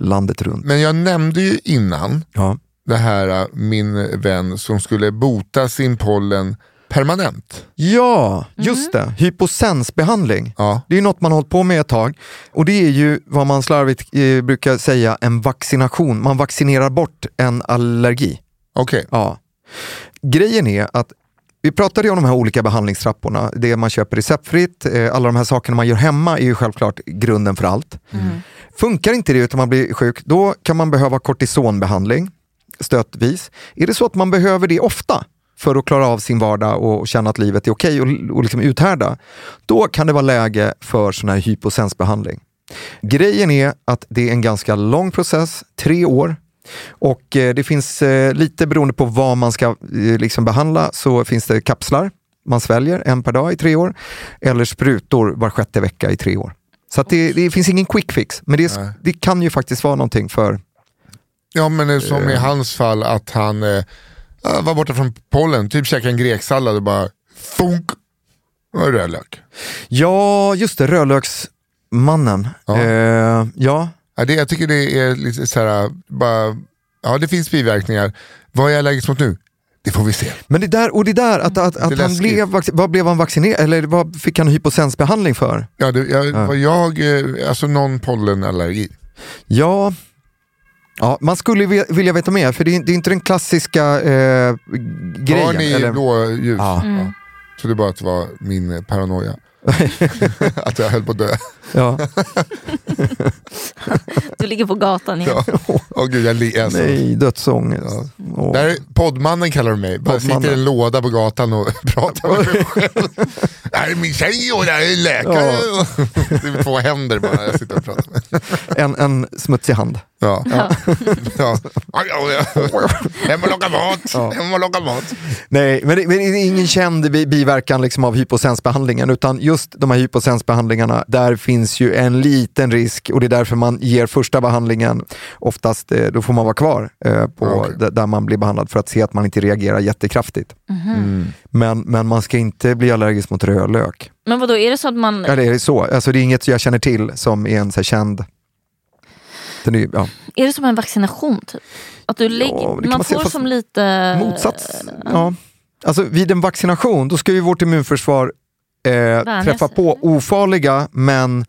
landet runt. Men jag nämnde ju innan Ja. det här eh, min vän som skulle bota sin pollen permanent. Ja, just det. Hypocensbehandling. Ja. Det är ju något man har hållit på med ett tag. Och det är ju vad man slarvigt eh, brukar säga en vaccination. Man vaccinerar bort en allergi. Okej, Ja. Grejen är att vi pratade ju om de här olika behandlingstrapporna. Det man köper receptfritt, eh, alla de här sakerna man gör hemma är ju självklart grunden för allt. Funkar inte det utan man blir sjuk, då kan man behöva kortisonbehandling stötvis. Är det så att man behöver det ofta för att klara av sin vardag och känna att livet är okej och, och liksom uthärda, då kan det vara läge för sån här hypocensbehandling. Grejen är att det är en ganska lång process, tre år. Och eh, det finns eh, lite beroende på vad man ska eh, liksom behandla så finns det kapslar man sväljer en per dag i tre år eller sprutor var sjätte vecka i tre år. Så att det, det finns ingen quick fix, men det, är- Nej. det kan ju faktiskt vara någonting för... ja men eh, som i hans fall att han eh, ja, var borta från pollen, typ käkade en greksallad och bara funk, och rödlök. Ja, just det, rödlöksmannen. Ja. Eh, ja. Ja, det, jag tycker det är lite så här, äh, bara, ja det finns biverkningar. Vad är jag allergisk mot nu? Det får vi se. Men det där, och det där att, att, att han läskigt. blev, vac- vad blev han vaccinerad, eller vad fick han hypocensbehandling för? Ja, det, jag, vad jag, eh, alltså någon pollenallergi. Ja, ja man skulle ju ve- vilja veta mer, för det är, det är inte den klassiska eh, grejen. Har ni eller? blåljus? Ja. Ja. Så det bara att det var min eh, *laughs* paranoia. att jag höll på att dö. Ja. Du ligger på gatan igen. Ja. Åh gud, jag le, alltså. Nej, dödsångest. Ja. Åh. Där poddmannen kallar de mig. Bara sitter i en Poddmannen. låda på gatan och *laughs* pratar med *laughs* mig själv. Det här är min tjej och det här är läkare. *laughs* Det är två händer bara jag sitter och pratar med. En, en smutsig hand. Ja. Ja. *laughs* Ja. Hem och laga mat. Ja. Hem och laga mat. Nej, men det, men det är ingen känd bi- biverkan liksom av hypocensbehandlingen utan just de här hypocensbehandlingarna, där finns ju en liten risk och det är därför man ger första behandlingen. Oftast eh, då får man vara kvar eh, på Ja, okej. d- där man blir behandlad för att se att man inte reagerar jättekraftigt. Men, men man ska inte bli allergisk mot rödlök. Men vadå, är det så att man... Eller är det så? Alltså, det är inget jag känner till som är en så här, känd... Den är, ju- ja. Är det som en vaccination typ? Att du lägger... Ja, det man, kan man se, får fast som lite... Motsats. eh, Ja. Alltså, vid en vaccination då ska ju vårt immunförsvar eh, träffa sig. på ofarliga men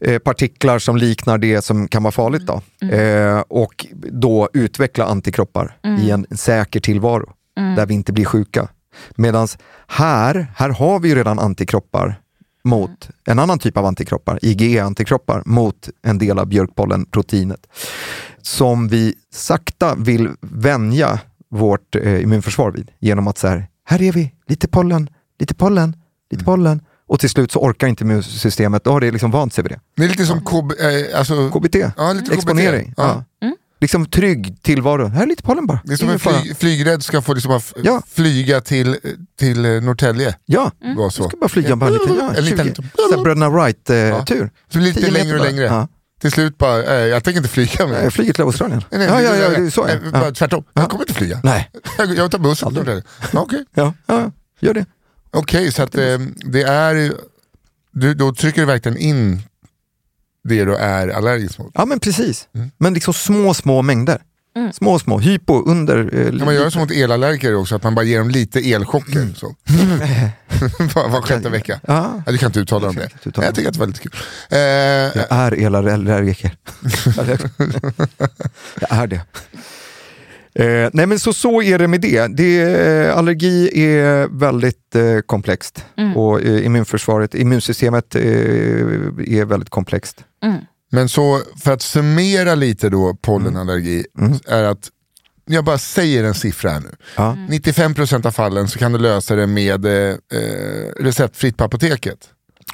eh, partiklar som liknar det som kan vara farligt. Då. Eh, och då utveckla antikroppar i en säker tillvaro där vi inte blir sjuka. Medan här, här har vi ju redan antikroppar mot en annan typ av antikroppar, IgE-antikroppar mot en del av björkpollenproteinet som vi sakta vill vänja vårt eh, immunförsvar vid genom att så här, här är vi, lite pollen, lite pollen, Mm. lite pollen. Och till slut så orkar inte immunsystemet, då har det liksom vant sig vid det. Det är lite som KB, eh, alltså, KBT, Ja, lite KBT. exponering. Ja. Ja. Liksom trygg tillvaro, här är lite pollen bara. det är som en Ingen fara. flyg, flygrädd ska få liksom bara f- Ja. flyga till, till eh, Norrtälje. Ja, Det var så. ska bara flyga bara lite. Ja, En liten- 20. Så här Bröderna eh, Wright-tur. Så blir det lite längre och längre. Ja. Till slut bara, eh, jag tänker inte flyga mer. Jag flyger Eh, till Australien. Nej, nej, ja, ja, nej, ja, nej. det är så. Nej, Ja. bara Tvärtom, jag kommer inte flyga. Nej, Jag, jag tar bussen. till Norrtälje. Ja, Okej, ja, ja, gör det. Okej, så att, eh, det är, ju- du, då trycker du verkligen in det du är allergisk mot. Ja men precis. Men liksom små, små mängder. Små, små, hypo, under. eh, Kan man göra som mot elallergiker också, att man bara ger dem lite elchocker? Så. *laughs* var var sjätte vecka. Mm. Ja. Ja, du kan inte uttala om det. inte uttala jag om tycker att det var lite kul. Eh, Jag är elallergiker. jag är det. Eh, nej men så, så är det med det. det eh, allergi är väldigt eh, komplext och eh, immunförsvaret, immunsystemet eh, är väldigt komplext. Men så för att summera lite då pollenallergi Mm. är att jag bara säger en siffra här nu. Ja. 95% av fallen så kan du lösa det med eh, eh, receptfritt på apoteket.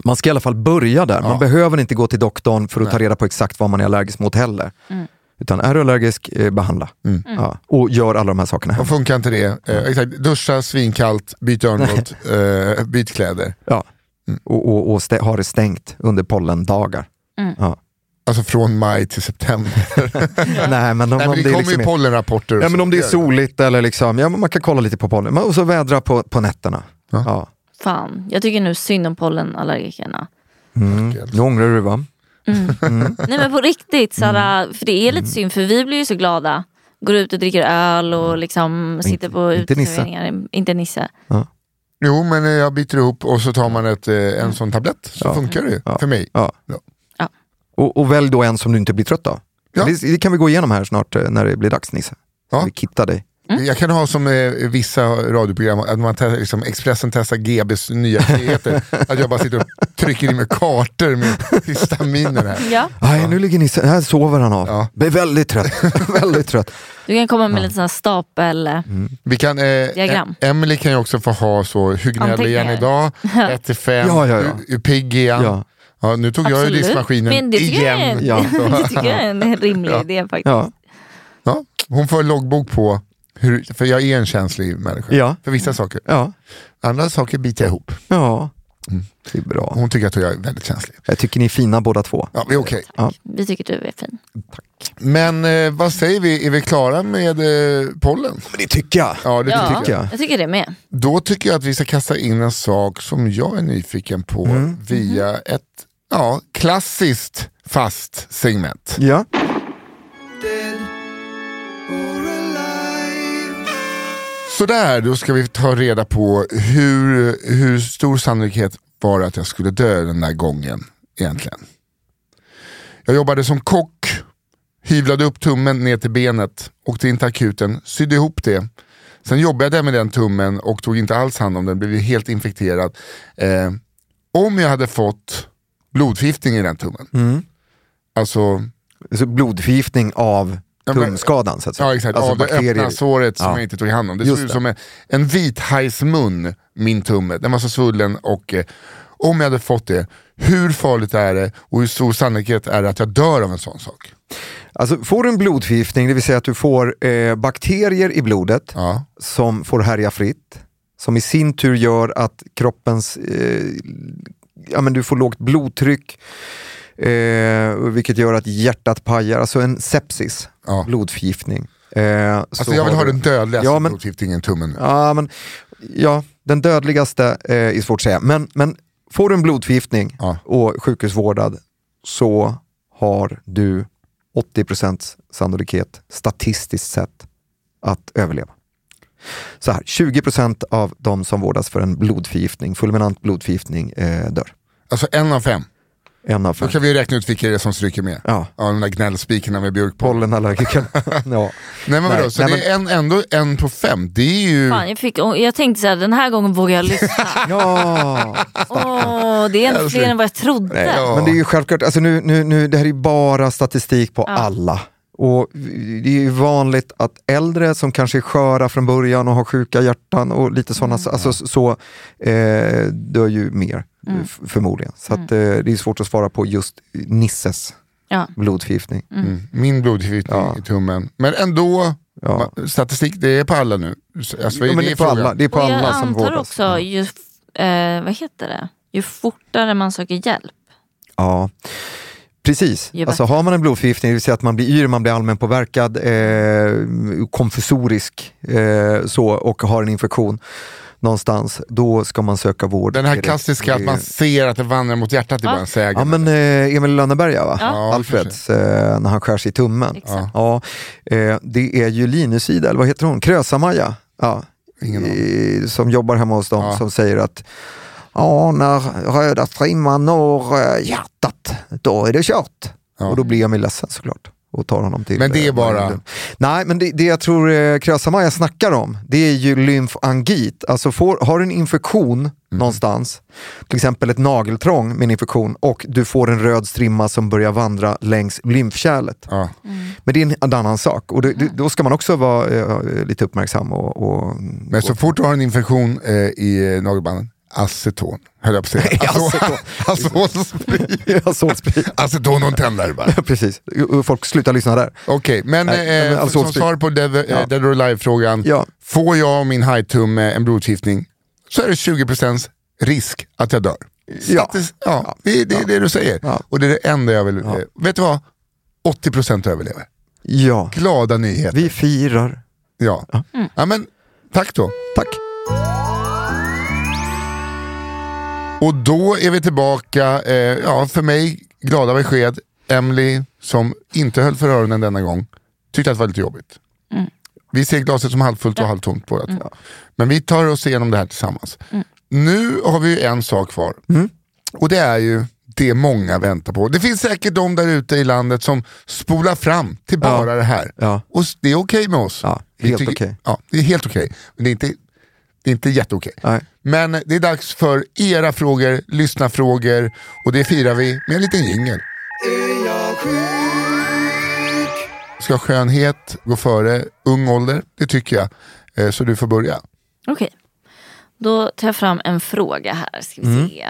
Man ska i alla fall börja där. Man Ja. behöver inte gå till doktorn för att ta Nej. reda på exakt vad man är allergisk mot heller. Utan är du allergisk, eh, behandla. Mm. Ja. Och gör alla de här sakerna. Och funkar inte det, eh, exakt, duscha svinkallt, *laughs* byt örngott, eh, byt kläder. Ja. Och, och, och stä- ha det stängt under pollendagar. Ja. Alltså från maj *laughs* till september. Nej, men om, om *laughs* Nej, men det, det är kommer liksom ju inte- pollenrapporter. och Ja, men så. om det är soligt eller liksom, ja, men man kan kolla lite på pollen. Men- Och så vädra på, på nätterna. Ja. Ja. Fan, jag tycker nu synd om pollenallergikerna. Mm. Nu ångrar du va? Mm. Nej men på riktigt, Sara, för det är lite synd för vi blir ju så glada. Går ut och dricker öl och liksom sitter på inte Nisse. uteserveringar. Inte Nisse. Inte Nisse. Jo men eh, jag byter ihop och så tar man ett, eh, en sån tablett så funkar det ju Mm. Ja. för mig. Ja. Ja. Ja. Och, och välj då en som du inte blir trött av. Ja. Det, det kan vi gå igenom här snart eh, när det blir dags Nisse. Ja. Ja. Vi kittar dig. Mm. Jag kan ha som eh, vissa radioprogram, att man testar, liksom, Expressen testar GBs nya *laughs* nyheter. att jag bara sitter och trycker in med kartor med histaminer här. Ja. Nej, nu ligger Nisse, här sover han av. Ja. Blir väldigt trött. *laughs* väldigt trött. Du kan komma med lite sån här stapel... Vi kan, eh, Diagram. Em- Emily kan ju också få ha så, hur gnäller *laughs* Jan idag? 1 till 5, Ja, ja, ja. hur, hur pigg är han? Ja. Ja. nu tog jag ju Absolut. diskmaskinen Men det tycker, jag är, igen. Ja. det tycker *laughs* jag är en rimlig idé faktiskt. Ja. *laughs* Ja, hon får loggbok på, hur, för jag är en känslig människa. Ja. För vissa saker. Ja. Andra saker biter jag ihop. ja. Mm, Det är bra. Hon tycker att jag är väldigt känslig. Jag tycker ni är fina båda två. Ja, det är okej. Vi tycker du är fin. Men eh, vad säger vi, är vi klara med eh, pollen? Men det tycker jag. Ja, det ja, tycker jag. jag. jag tycker det med. Då tycker jag att vi ska kasta in en sak som jag är nyfiken på Mm. via ett ja, klassiskt fast segment. Ja. Dead or alive. Sådär, då ska vi ta reda på hur, hur stor sannolikhet var det att jag skulle dö den där gången egentligen. Jag jobbade som kock, hyvlade upp tummen ner till benet, åkte in till akuten, sydde ihop det. Sen jobbade jag med den tummen och tog inte alls hand om den, blev ju helt infekterad. Eh, om jag hade fått blodförgiftning i den tummen, alltså Så blodförgiftning av men- tumskadan så att säga. Ja exakt, Alltså av det öppna såret som Ja. jag inte tog hand om. Det Just såg ut det. som en, en vithajsmun, min tumme. Den var så svullen och eh, om jag hade fått det, hur farligt är det och hur stor sannolikhet är det att jag dör av en sån sak? Alltså, får du en blodförgiftning, det vill säga att du får eh, bakterier i blodet Ja. som får härja fritt, som i sin tur gör att kroppens, eh, ja, men du får lågt blodtryck, eh, vilket gör att hjärtat pajar, alltså en sepsis, Ja. blodförgiftning. Eh, Alltså jag vill ha den dödligaste Ja, men- blodförgiftningen i tummen nu. Ja, men, ja den dödligaste eh, är svårt att säga. Men, men får du en blodförgiftning Ja. och sjukhusvårdad så har du 80% sannolikhet statistiskt sett att överleva. Så här, 20% av de som vårdas för en blodförgiftning, fulminant blodförgiftning, eh, dör. Alltså en av fem. En av Då fem. kan vi ju räkna ut vilka det är som stryker med. Ja. Ja, de där gnällspikarna med björk på. Pollenallergiker. *laughs* ja. Nej men vadå, Nej, så nej, det är en, ändå en på fem. Det är ju... Fan, jag, fick, och jag tänkte så här, den här gången vågar jag lyssna. *laughs* ja. Åh, det är en fler än vad jag trodde. Ja. Men det är ju självklart, alltså nu, nu, nu, det här är ju bara statistik på alla. Och det är ju vanligt att äldre som kanske är sköra från början och har sjuka hjärtan och lite sådana, Mm. alltså, så eh, dör ju mer Mm. f- förmodligen. Så att, eh, det är svårt att svara på just Nisses Ja. blodförgiftning. Mm. Min blodförgiftning Ja. i tummen. Men ändå, Ja. ma- statistik, det är på alla nu. Alltså, Ja, men det, är på frågan. alla, det är på Och jag alla som antar vårdas. också, ju, f- eh, vad heter det? Ju fortare man söker hjälp. Ja, precis. Ju Alltså, har man en blodförgiftning, det vill säga att man blir yr, man blir allmänpåverkad, eh, konfusorisk eh, så, och har en infektion, någonstans, då ska man söka vård. Den här direkt. klassiska att Det- man ser att det vandrar mot hjärtat i Ja. bara en sägen. Ja men eh, Emil i Lönneberga va? Ja. Ja, Alfreds, eh, när han skär sig i tummen. Exakt. Ja, eh, det är ju Linusida, eller vad heter hon? Krösa-Maja. Ja. Ingen aning. eh, som jobbar hemma hos dem Ja. som säger att ja, när röda strimman når eh, hjärtat, då är det kört. Ja. Och då blir Emil ledsen såklart och tar honom till Men det är eh, bara- Magnum. Nej, men det, det jag tror eh, Krösa-Maja snackar om, det är ju lymfangit. Alltså får, har du en infektion Mm. någonstans, till exempel ett nageltrång med en infektion och du får en röd strimma som börjar vandra längs lymfkärlet. Ja. Men det är en, en annan sak och det, det, då ska man också vara eh, lite uppmärksam och, och *laughs* Men så fort du har en infektion eh, i eh, nagelbanden, aceton, höll jag *laughs* på att säga. aceton. *laughs* Acetonsprit. *laughs* Azolsprit. Aceton och en *laughs* tändare bara. Precis, Och folk slutar lyssna där. Okej, men, Nej, men eh, alltså- som svar på Dead, eh, Ja. dead or Alive-frågan. Ja. Får jag och min hajtumme en blodförgiftning så är det 20% risk att jag dör. Ja. Statis- ja, det, det är det du säger. Ja. Och det är det enda jag vill. eh, Vet du vad? 80% överlever. Ja, Glada nyheter. vi firar. Ja. ja, men tack då. Tack. Och då är vi tillbaka, eh, ja, för mig glada besked. Emily som inte höll för öronen denna gång tyckte att det var lite jobbigt. Vi ser glaset som halvfullt och halvtomt båda två. Men vi tar oss igenom det här tillsammans. Nu har vi ju en sak kvar. Mm. Och det är ju det många väntar på. Det finns säkert de där ute i landet som spolar fram till bara det här. Ja. Och s- det är okej med oss. Ja, Vi helt tycker- okej. Ja, det är helt okej. Men det är inte, det är inte jätteokej. Nej. Men det är dags för era frågor, lyssna frågor och det firar vi med en liten jingel. Är jag sjuk? Ska skönhet gå före ung ålder? Det tycker jag. Eh, Så du får börja. Okej. Då tar jag fram en fråga här. Ska vi Mm. se.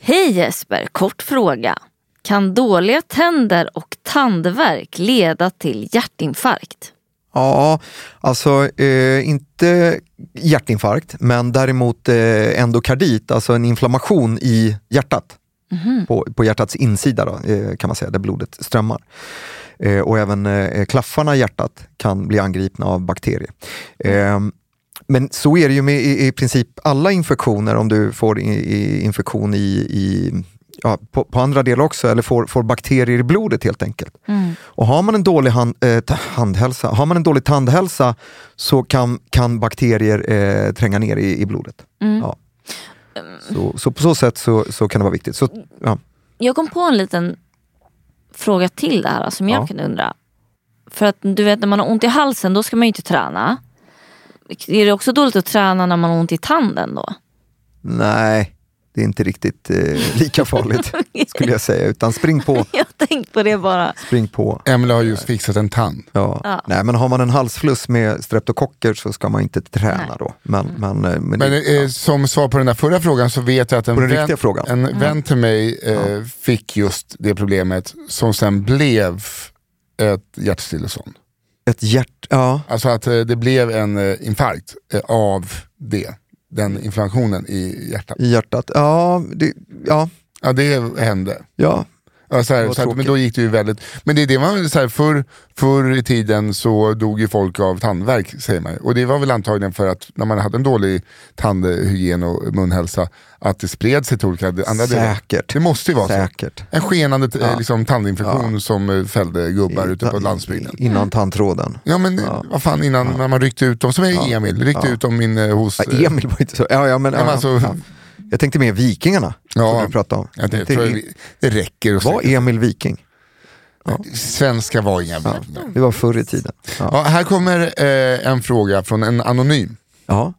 Hej Jesper, kort fråga. Kan dåliga tänder och tandvärk leda till hjärtinfarkt? Ja, alltså eh, inte hjärtinfarkt men däremot eh, endokardit, alltså en inflammation i hjärtat. På, på hjärtats insida då, eh, kan man säga, där blodet strömmar. Eh, och även eh, klaffarna i hjärtat kan bli angripna av bakterier. Eh, men så är det ju med i, i princip alla infektioner, om du får i, i infektion i, i, ja, på, på andra delar också, eller får, får bakterier i blodet helt enkelt. Och har man en dålig hand, eh, ta- handhälsa, har man en dålig tandhälsa så kan, kan bakterier eh, tränga ner i, i blodet. Ja. Så, så på så sätt så, så kan det vara viktigt. Så, ja. Jag kom på en liten fråga till där som jag Ja. kunde undra. För att du vet när man har ont i halsen då ska man ju inte träna. Är det också dåligt att träna när man har ont i tanden då? Nej, det är inte riktigt eh, lika farligt skulle jag säga. Utan spring på. *laughs* Jag har tänkt på det bara. Spring på. Emelie har just fixat en tand. Ja. Ja. Nej, men har man en halsfluss med streptokocker så ska man inte träna då. Men, men, men, Men det- eh, som svar på den där förra frågan så vet jag att en, På den vän, riktiga frågan. en vän till mig eh, fick just det problemet som sen blev ett hjärtstillestånd. ett hjärt... Ja. Alltså att eh, det blev en eh, infarkt eh, av det. Den inflammationen i hjärtat. I hjärtat. Ja, det, ja, Ja det hände. ja. Ja, så här, Vad så att, men tråkigt. då gick det ju väldigt, men det är det man, så här, förr, förr i tiden så dog ju folk av tandvärk säger man ju. Och det var väl antagligen för att när man hade en dålig tandhygien och munhälsa, att det spred sig till olika andra delar. Säkert. Det måste ju vara Säkert. så. En skenande eh, Ja. liksom, tandinfektion som eh, fällde gubbar ute på Innan- landsbygden. Innan tandtråden. Ja men vad fan innan när man ryckte ut dem, som är Emil, ryckte ut dem in eh, hos... Ja, Emil var inte så... Ja, ja, men, Ja, men ja, alltså- ja. Jag tänkte mer vikingarna Ja. som du pratade om. Ja, det, Inte tror jag, i- vi- det räcker. att Var säga. Emil viking? Svenska var inga vikingar. Det var förr i tiden. Ja. Ja, här kommer eh, en fråga från en anonym. Ja.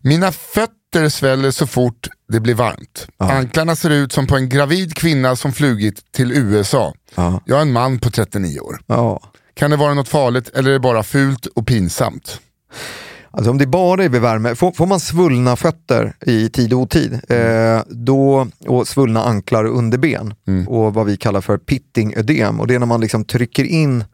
Mina fötter sväller så fort det blir varmt. Anklarna ser ut som på en gravid kvinna som flugit till USA. Ja. Jag är en man på 39 år. ja. Kan det vara något farligt eller är det bara fult och pinsamt? Alltså om det bara är vid värme, får, får man svullna fötter i tid och otid Mm. eh, då, och svullna anklar och underben och vad vi kallar för pittingödem och det är när man liksom trycker in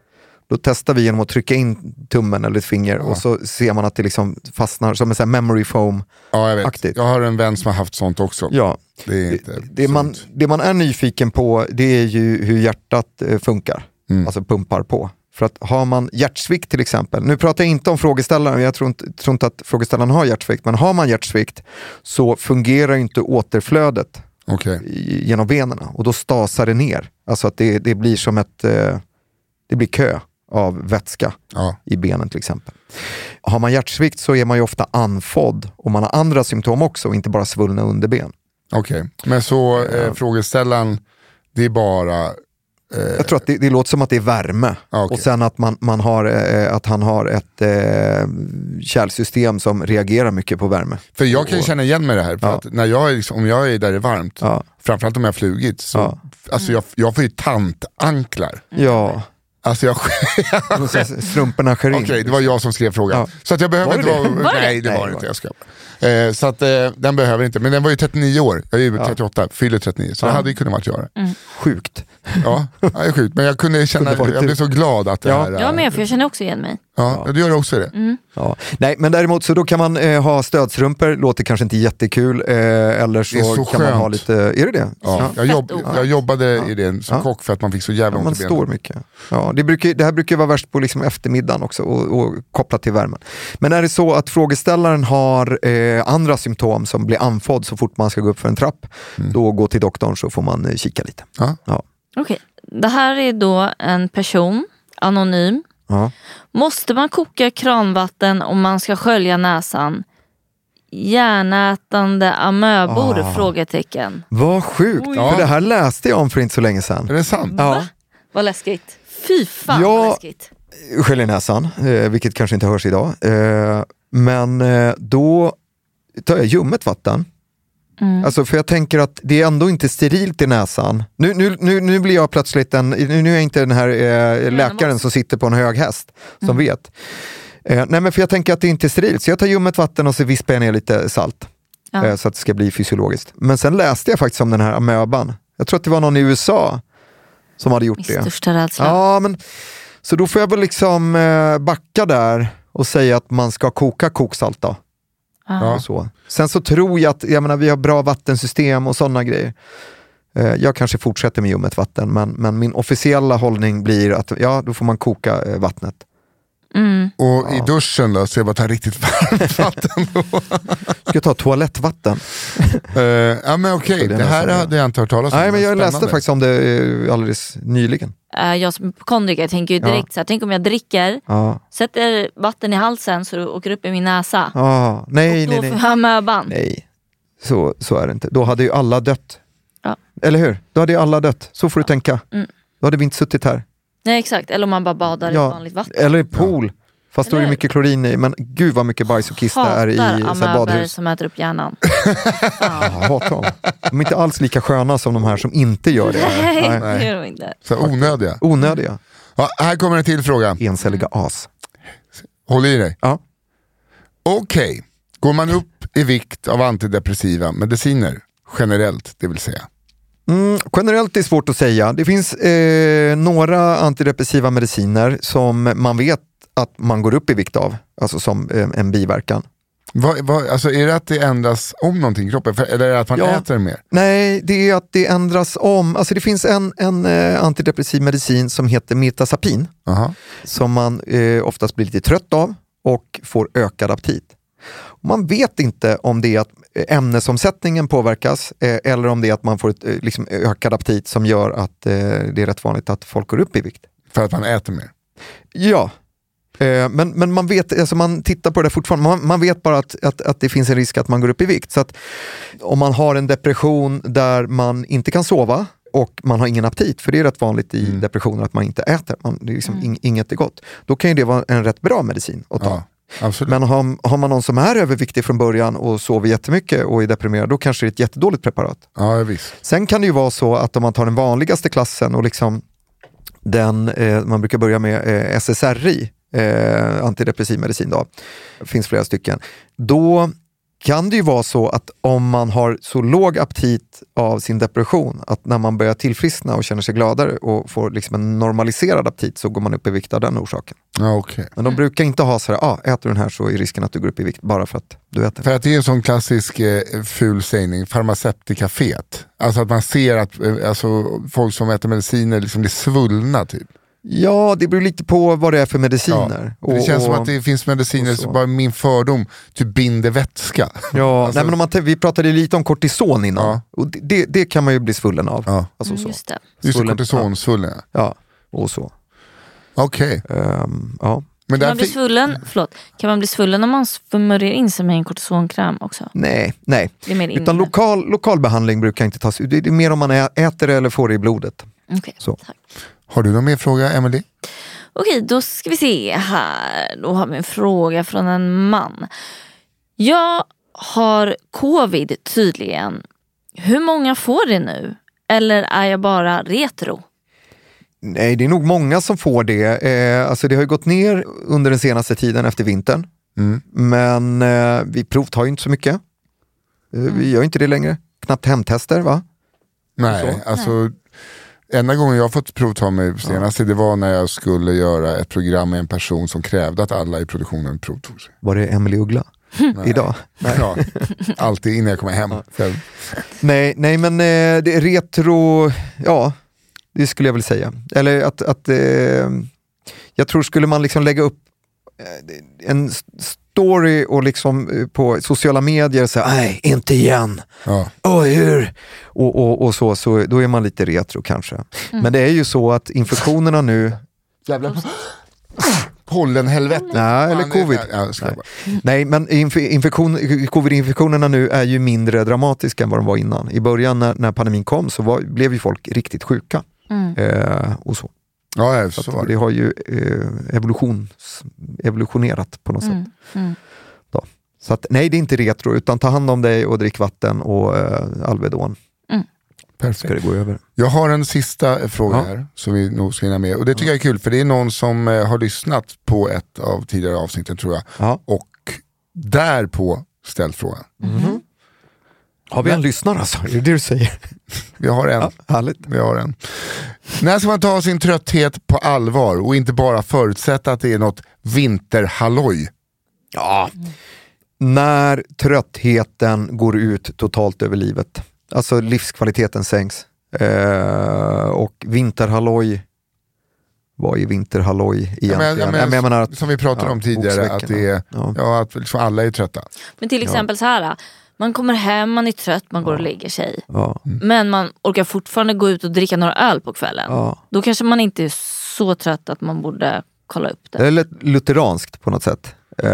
då testar vi genom att trycka in tummen eller ett finger och så ser man att det liksom fastnar som en sån här memory foam. Ja, jag vet. Aktigt. Jag har en vän som har haft sånt också. Ja. Det är inte Det, det, man, sunt. Mm. det man är nyfiken på det är ju hur hjärtat eh, funkar, alltså pumpar på. För att har man hjärtsvikt till exempel, nu pratar jag inte om frågeställaren, jag tror inte, tror inte att frågeställaren har hjärtsvikt, men har man hjärtsvikt så fungerar ju inte återflödet i- genom benen och då stasar det ner. Alltså att det, det blir som ett, eh, det blir kö av vätska i benen till exempel. Har man hjärtsvikt så är man ju ofta andfådd och man har andra symptom också, inte bara svullna underben. Okej, men så eh, frågeställaren, det är bara... eh, Jag tror att det, det låter som att det är värme och sen att, man, man har, eh, att han har ett eh, kärlsystem som reagerar mycket på värme. För jag kan ju känna igen mig i det här, för att när jag är, liksom, om jag är där det är varmt, framförallt om jag har flugit, så, alltså jag, jag får ju tantanklar. Ja. Alltså jag... Strumporna skär in. Okej, det var jag som skrev frågan. Så att jag behöver Var inte det vara... det? Var det Nej, det? det Nej, var det var- det inte. Jag skojar. eh, Så att eh, den behöver inte, men den var ju 39 år, jag är ju 38, fyller 39, så det hade ju kunnat varit jag. Mm. Sjukt. Ja, ja, det är sjukt, men jag kunde känna, Kunde varit jag du. blev så glad att det här... eh, Jag med, för jag känner också igen mig. Ja, du gör också det. Mm. Ja. Nej, men däremot så då kan man eh, ha stödstrumpor, låter kanske inte jättekul, eh, eller så, Det är så kan man ha skönt. lite, är det det? Ja. Jag, jobb, jag jobbade i det som kock för att man fick så jävla Ja, ont i man benen. står mycket. Ja, det, brukar, det här brukar vara värst på liksom eftermiddagen också och, och kopplat till värmen. Men är det så att frågeställaren har eh, andra symptom som blir andfådd så fort man ska gå upp för en trapp, då gå till doktorn så får man eh, kika lite. Mm. Ja. Ja. Okej, det här är då en person, anonym. Ja. Måste man koka kranvatten om man ska skölja näsan? Hjärnätande amöbor? Ah. Frågetecken. Vad sjukt, Oj. för det här läste jag om för inte så länge sedan. Är det sant? Ja. Vad läskigt. Fy fan Ja. vad läskigt. skölj i näsan, eh, vilket kanske inte hörs idag. Eh, men eh, då tar jag ljummet vatten. Alltså för jag tänker att det är ändå inte sterilt i näsan. Nu, nu, nu, nu blir jag plötsligt en, nu, nu är jag inte den här eh, läkaren som sitter på en hög häst som vet. Eh, nej men för jag tänker att det inte är sterilt, så jag tar ljummet vatten och så vispar jag ner lite salt. Ja. Eh, så att det ska bli fysiologiskt. Men sen läste jag faktiskt om den här amöban. Jag tror att det var någon i USA som hade gjort det. Största rädslan. Ja, men, så då får jag väl liksom eh, backa där och säga att man ska koka koksalt då. Ja. Och så. Sen så tror jag att, jag menar vi har bra vattensystem och sådana grejer. Eh, jag kanske fortsätter med ljummet vatten, men, men min officiella hållning blir att ja, då får man koka eh, vattnet. Mm. Och i duschen då, så jag bara tar riktigt varmt vatten. då. Ska jag ta toalettvatten? Eh, ja men okej, Skulle jag det här nästan- hade jag inte hört talas om. Nej, men jag läste Spännande. faktiskt om det eh, alldeles nyligen. Eh, Jag som är hypokondriker tänker ju direkt så här, tänk om jag dricker, Ja. sätter vatten i halsen så det åker upp i min näsa. Ah, nej, Då nej, får nej. jag amöban. nej. Så, så är det inte. Då hade ju alla dött. Ja. Mm. Eller hur? Då hade ju alla dött. Så får du tänka. Då hade vi inte suttit här. Nej exakt, eller om man bara badar i Ja, vanligt vatten. Eller i pool. Fast då är det Eller hur? mycket klorin i. Men gud vad mycket bajs och kiss det är Hatar i så här, amöber badhus. som äter *laughs* upp hjärnan. Ja, Jag hatar dem. De är inte alls lika sköna som de här som inte gör det. *laughs* Nej, det gör de inte. Så här onödiga. Onödiga. Ja, här kommer en till fråga, Encelliga Mm. as. håll i dig. Ja. Okej, går man upp i vikt av antidepressiva mediciner generellt, det vill säga? Mm, generellt är det svårt att säga. Det finns eh, några antidepressiva mediciner som man vet att man går upp i vikt av. Alltså som eh, en biverkan. Vad, vad, alltså, är det att det ändras om någonting i kroppen, För, eller är det att man Ja. äter mer? Nej, det är att det ändras om. Alltså det finns en, en eh, antidepressiv medicin som heter metazapin. Aha. som man eh, oftast blir lite trött av och får ökad aptit. Man vet inte om det är att eh, ämnesomsättningen påverkas eh, eller om det är att man får ett, eh, liksom, ökad aptit som gör att eh, det är rätt vanligt att folk går upp i vikt. För att man äter mer? Ja, eh, men, men man, vet, alltså man tittar på det där fortfarande. Man, man vet bara att, att, att det finns en risk att man går upp i vikt. Så att om man har en depression där man inte kan sova och man har ingen aptit, för det är rätt vanligt i depressioner att man inte äter, man, det är liksom ing, inget är gott. Då kan ju det vara en rätt bra medicin att ta. Ja, absolut. Men har, har man någon som är överviktig från början och sover jättemycket och är deprimerad, då kanske det är ett jättedåligt preparat. Ja, visst. Sen kan det ju vara så att om man tar den vanligaste klassen och liksom den eh, man brukar börja med eh, SSRI, eh, antidepressiv medicin, då, det finns flera stycken. Då kan det ju vara så att om man har så låg aptit av sin depression att när man börjar tillfriskna och känner sig gladare och får liksom en normaliserad aptit så går man upp i vikt av den orsaken. Ja, okej. Men de brukar inte ha så här, ah, äter du den här så är risken att du går upp i vikt bara för att du äter. För att det är en sån klassisk eh, ful sägning, farmaceutika fet. Alltså att man ser att eh, alltså, folk som äter mediciner liksom blir svullna typ. Ja, det beror lite på vad det är för mediciner. Ja, det Och- känns och- som att det finns mediciner, som bara min fördom, typ binder vätska. Ja, *laughs* Alltså- nej, men om man, tän- vi pratade ju lite om kortison innan. Och det- det, det kan man ju bli svullen av. Alltså så. Mm, Just det. Just Svullen, kortisonsvullen. ja. Ja, och så. Okej. Ehm, ja. Kan Men där man, bli fick, svullen, förlåt, kan man bli svullen om man smörjer in sig med en kortisonkräm också? Nej, nej. Det är mer inne. Utan lokal, lokal behandling brukar inte tas ut. Det det är mer om man ä- äter det eller får det i blodet. Okej. Så. har du någon mer fråga, Emily? Okej, då ska vi se här. Då har vi en fråga från en man. Jag har covid tydligen. Hur många får det nu? Eller är jag bara retro? Nej, det är nog många som får det. Eh, alltså det har ju gått ner under den senaste tiden efter vintern. Men eh, vi provtar ju inte så mycket. Eh, Mm. Vi gör inte det längre. Knappt hemtester va? Nej, alltså enda gången jag har fått provta mig senast det var när jag skulle göra ett program med en person som krävde att alla i produktionen provtog sig. Var det Emily Uggla idag? Nej. Ja, alltid innan jag kommer hem. Sen, Nej, nej men eh, det är retro, ja det skulle jag väl säga. Eller att, att eh, jag tror skulle man liksom lägga upp eh, en s- story och liksom eh, på sociala medier säga nej inte igen, ja. åh hur? Och, och, och så, så, då är man lite retro kanske. Mm. Men det är ju så att infektionerna nu, Jävla pollenhelvete. nej eller Fan, det är- covid, Ja, jag ska bara. Nej, men inf- infektion, covid-infektionerna nu är ju mindre dramatiska än vad de var innan. I början när, när pandemin kom så var, blev ju folk riktigt sjuka. Eh, och så. Ja, jag Så att så var det det. har ju eh, evolutions, evolutionerat på något Mm. sätt. Då. Så att, nej, det är inte retro, utan ta hand om dig och drick vatten och eh, Alvedon. Ska Perfekt. det gå över. Jag har en sista eh, fråga Ja. här som vi nog ska hinna med. Och det tycker jag är kul för det är någon som eh, har lyssnat på ett av tidigare avsnitten tror jag. Ja. Och därpå ställt frågan. Har vi en lyssnare alltså? Är det det du säger? Vi har en. Ja, härligt. Vi har en. När ska man ta sin trötthet på allvar och inte bara förutsätta att det är något vinterhalloj? Ja. När tröttheten går ut totalt över livet, alltså livskvaliteten sänks. Eh, och vinterhalloj, vad är vinterhalloj egentligen? Jag menar- jag menar- Nej, men jag menar Som vi pratade ja, om tidigare, att, det är, boksveckorna. ja, att liksom alla är trötta. Men till exempel så här. Man kommer hem, man är trött, man går och lägger sig. ja, Mm. Men man orkar fortfarande gå ut och dricka några öl på kvällen. ja. Då kanske man inte är så trött att man borde kolla upp det. Det är lite lutheranskt på något sätt. Eh,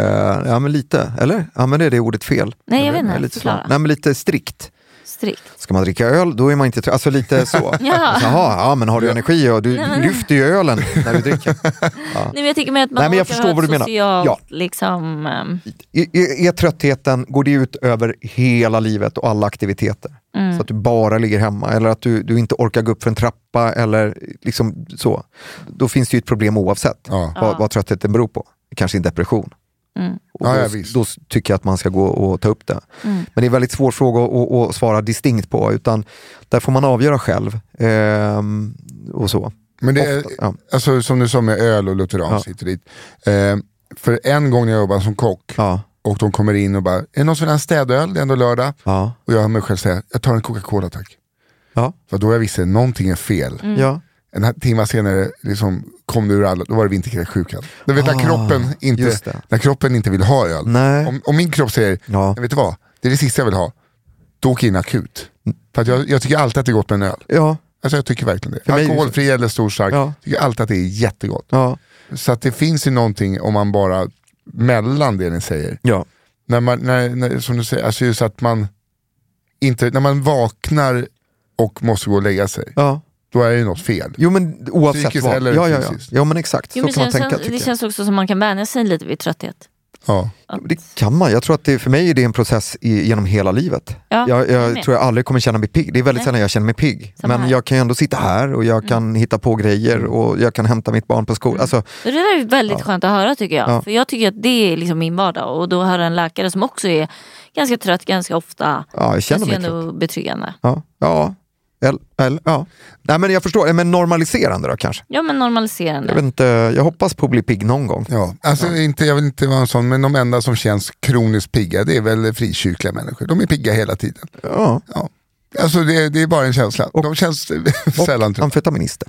ja men lite, eller? Använder jag det ordet fel? Nej, jag vet inte. är lite Förklara. svag. Nej men lite strikt. Strikt. Ska man dricka öl, då är man inte trött. Alltså lite så. *laughs* Ja. Alltså, Jaha, ja, men har du energi? Ja, du lyfter ju ölen *laughs* när du dricker. Nej, men jag tänker mer att man Nej, men jag orkar förstår ha vad ett du menar. socialt, Ja. liksom, ehm, I- i- Är tröttheten, går det ut över hela livet och alla aktiviteter? Så att du bara ligger hemma eller att du, du inte orkar gå upp för en trappa eller liksom så. Då finns det ju ett problem oavsett Ja. vad, vad tröttheten beror på. Kanske en depression. Och Ja, då, ja, visst. då tycker jag att man ska gå och ta upp det. Men det är en väldigt svår fråga att, att, att svara distinkt på utan där får man avgöra själv. Ehm, och så. Men det är, Ofta, ja. alltså, som du sa med öl och lutherans Ja. hit och dit. Eh, för en gång när jag jobbade som kock Ja, och de kommer in och bara, är det någon som vill ha en städöl? Det är ändå lördag. ja, Och jag hör mig själv säga, jag tar en Coca-Cola tack. ja. För då jag visste, någonting är fel. ja. En timme senare liksom, kom det ur alla, då var det vinterkräksjukan. Du vet när, Ah, kroppen inte, just det. när kroppen inte vill ha öl. Nej. Om, om min kropp säger, Ja. "Jag vet du vad, det är det sista jag vill ha, då åker jag in akut. Mm. För att jag, jag tycker alltid att det är gott med en öl. ja. Alltså jag tycker verkligen det. För mig- Alkoholfri eller stor stark, Ja. tycker alltid att det är jättegott. ja. Så att det finns ju någonting om man bara, mellan det ni säger, ja. när man, när, när, som du säger, alltså just att man inte, när man vaknar och måste gå och lägga sig, ja. då är det ju något fel. Jo men oavsett Psykiskt vad. eller ja, ja, ja. fysiskt. ja men exakt, jo, så men kan man känns, tänka. det tycker jag. känns också som man kan vänja sig lite vid trötthet. Ja. Det kan man, jag tror att det, för mig är det en process i, genom hela livet. Ja, jag jag med. jag tror jag aldrig kommer känna mig pigg, det är väldigt Nej. sällan jag känner mig pigg. Samma men här. Mm. jag kan ju ändå sitta här och jag kan hitta på Mm. grejer och jag kan hämta mitt barn på skolan. Alltså, Det där är väldigt skönt att höra tycker jag. Ja. För jag tycker att det är liksom min vardag. Och då höra en läkare som också är ganska trött ganska ofta. ja, jag känner känns ju mig ändå trött. betryggande. Ja, ja. El, el, ja. Nej, men jag förstår, men normaliserande då kanske? Ja men Jag, normaliserande. vet inte, jag hoppas på att bli pigg någon gång. Ja, alltså Inte, jag vill inte vara en sån, men de enda som känns kroniskt pigga det är väl frikyrkliga människor. De är pigga hela tiden. Ja. Ja. Alltså det, det är bara en känsla. de känns *laughs* Och sällan trötta. amfetaminister.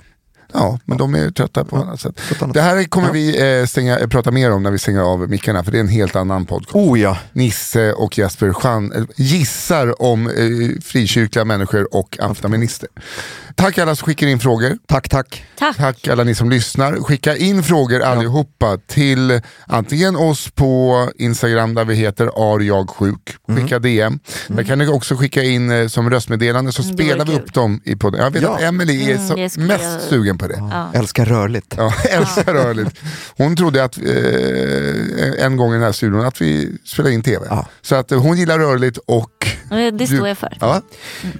Ja, men de är trötta på annat sätt. Det här kommer vi eh, stänga, eh, prata mer om när vi stänger av mickarna, för det är en helt annan podcast. Oh ja. Nisse och Jesper Schan, eh, gissar om eh, frikyrkliga människor och amfetaminister. Tack alla som skickar in frågor. Tack, tack. Tack. alla ni som lyssnar. Skicka in frågor allihopa till antingen oss på Instagram där vi heter arjagsjuk. Skicka DM. Där kan ni också skicka in eh, som röstmeddelande så Mm, vore spelar vi kul. upp dem i podden. Jag vet Ja. att Emelie är Mm, så det skulle mest jag- sugen på det. Älskar rörligt. Ja, *laughs* Elsa Rörligt. Hon trodde att eh, en gång i den här studion att vi spelade in tv. Ja. Så att eh, hon gillar rörligt och Eh, Det Du- står jag för. ja,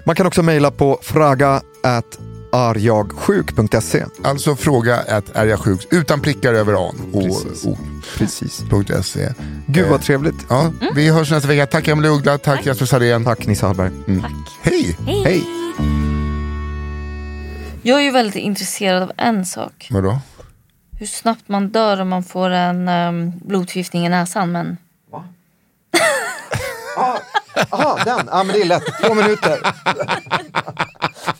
Man kan också mejla på fraga at arjagsjuk.se. alltså fråga att är jag sjuk utan prickar över an och, Precis. och Precis. punkt .se. Gud Eh, vad trevligt. Ja, Vi hörs nästa vecka. Tack Emelie Uggla, tack, Jesper Sarén. Tack Nisse Hallberg. Tack. Hej! Hej. Jag är ju väldigt intresserad av en sak. Vadå? Hur snabbt man dör om man får en um, blodförgiftning i näsan. Men Jaha, den. Ja, men det är lätt. Två minuter.